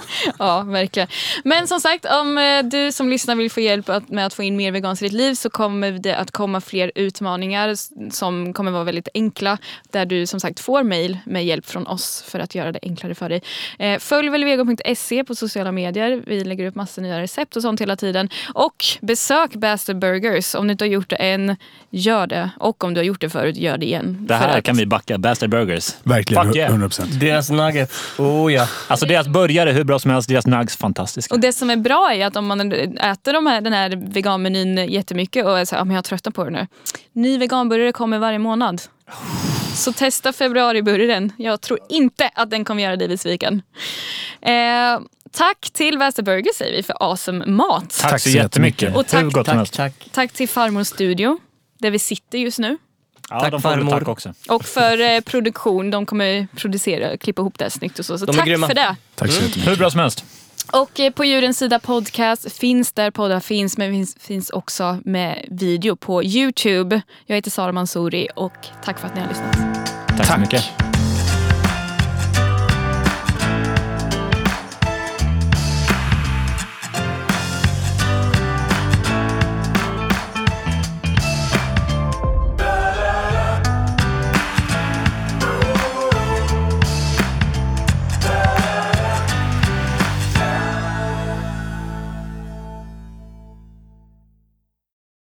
Speaker 3: ja, verkligen. Men som sagt, om eh, du som lyssnar vill få hjälp att, med att få in mer veganskt i ditt liv så kommer det att komma fler utmaningar s- som kommer vara väldigt enkla. Där du som sagt får mejl med hjälp från oss för att göra det enklare för dig. Eh, Följ velvego.se på sociala medier. Vi lägger upp massa nya recept och sånt hela tiden. Och besök Bastard Burgers. Om du inte har gjort det än, gör det. Och om du har gjort det förut, gör det igen.
Speaker 8: Det
Speaker 3: För
Speaker 8: här
Speaker 3: att-
Speaker 8: kan vi backa. Bastard Burgers.
Speaker 1: Verkligen,
Speaker 8: Fuck yeah.
Speaker 1: 100%.
Speaker 2: Deras nuggets. Oh ja.
Speaker 8: Alltså deras burgare är hur bra som helst, deras nugs fantastiska.
Speaker 3: Och det som är bra är att om man äter de här, den här veganmenyn jättemycket och är så här, "Ah, men jag tröttnar på det nu. Ny veganburgare kommer varje månad. Så testa februariburgaren. Jag tror inte att den kommer göra dig besviken. Eh, tack till Väster Burger säger vi för awesome mat.
Speaker 8: Tack, så jättemycket.
Speaker 3: Och tack,
Speaker 8: hur gott som
Speaker 3: tack,
Speaker 8: helst.
Speaker 3: tack. till Farmor Studio där vi sitter just nu.
Speaker 8: Ja,
Speaker 2: Tack,
Speaker 8: de får väl
Speaker 2: farmor.
Speaker 8: tack också.
Speaker 3: Och för eh, produktion. De kommer producera, klippa ihop det här snyggt och så. Så
Speaker 8: De är
Speaker 3: tack
Speaker 8: grymma.
Speaker 3: för det.
Speaker 1: Tack så
Speaker 8: Hur bra som helst.
Speaker 3: Och eh, på Djurens sida podcast finns där poddar finns, men finns, finns också med video på Youtube. Jag heter Sara Mansouri och tack för att ni har lyssnat.
Speaker 8: Tack, så mycket.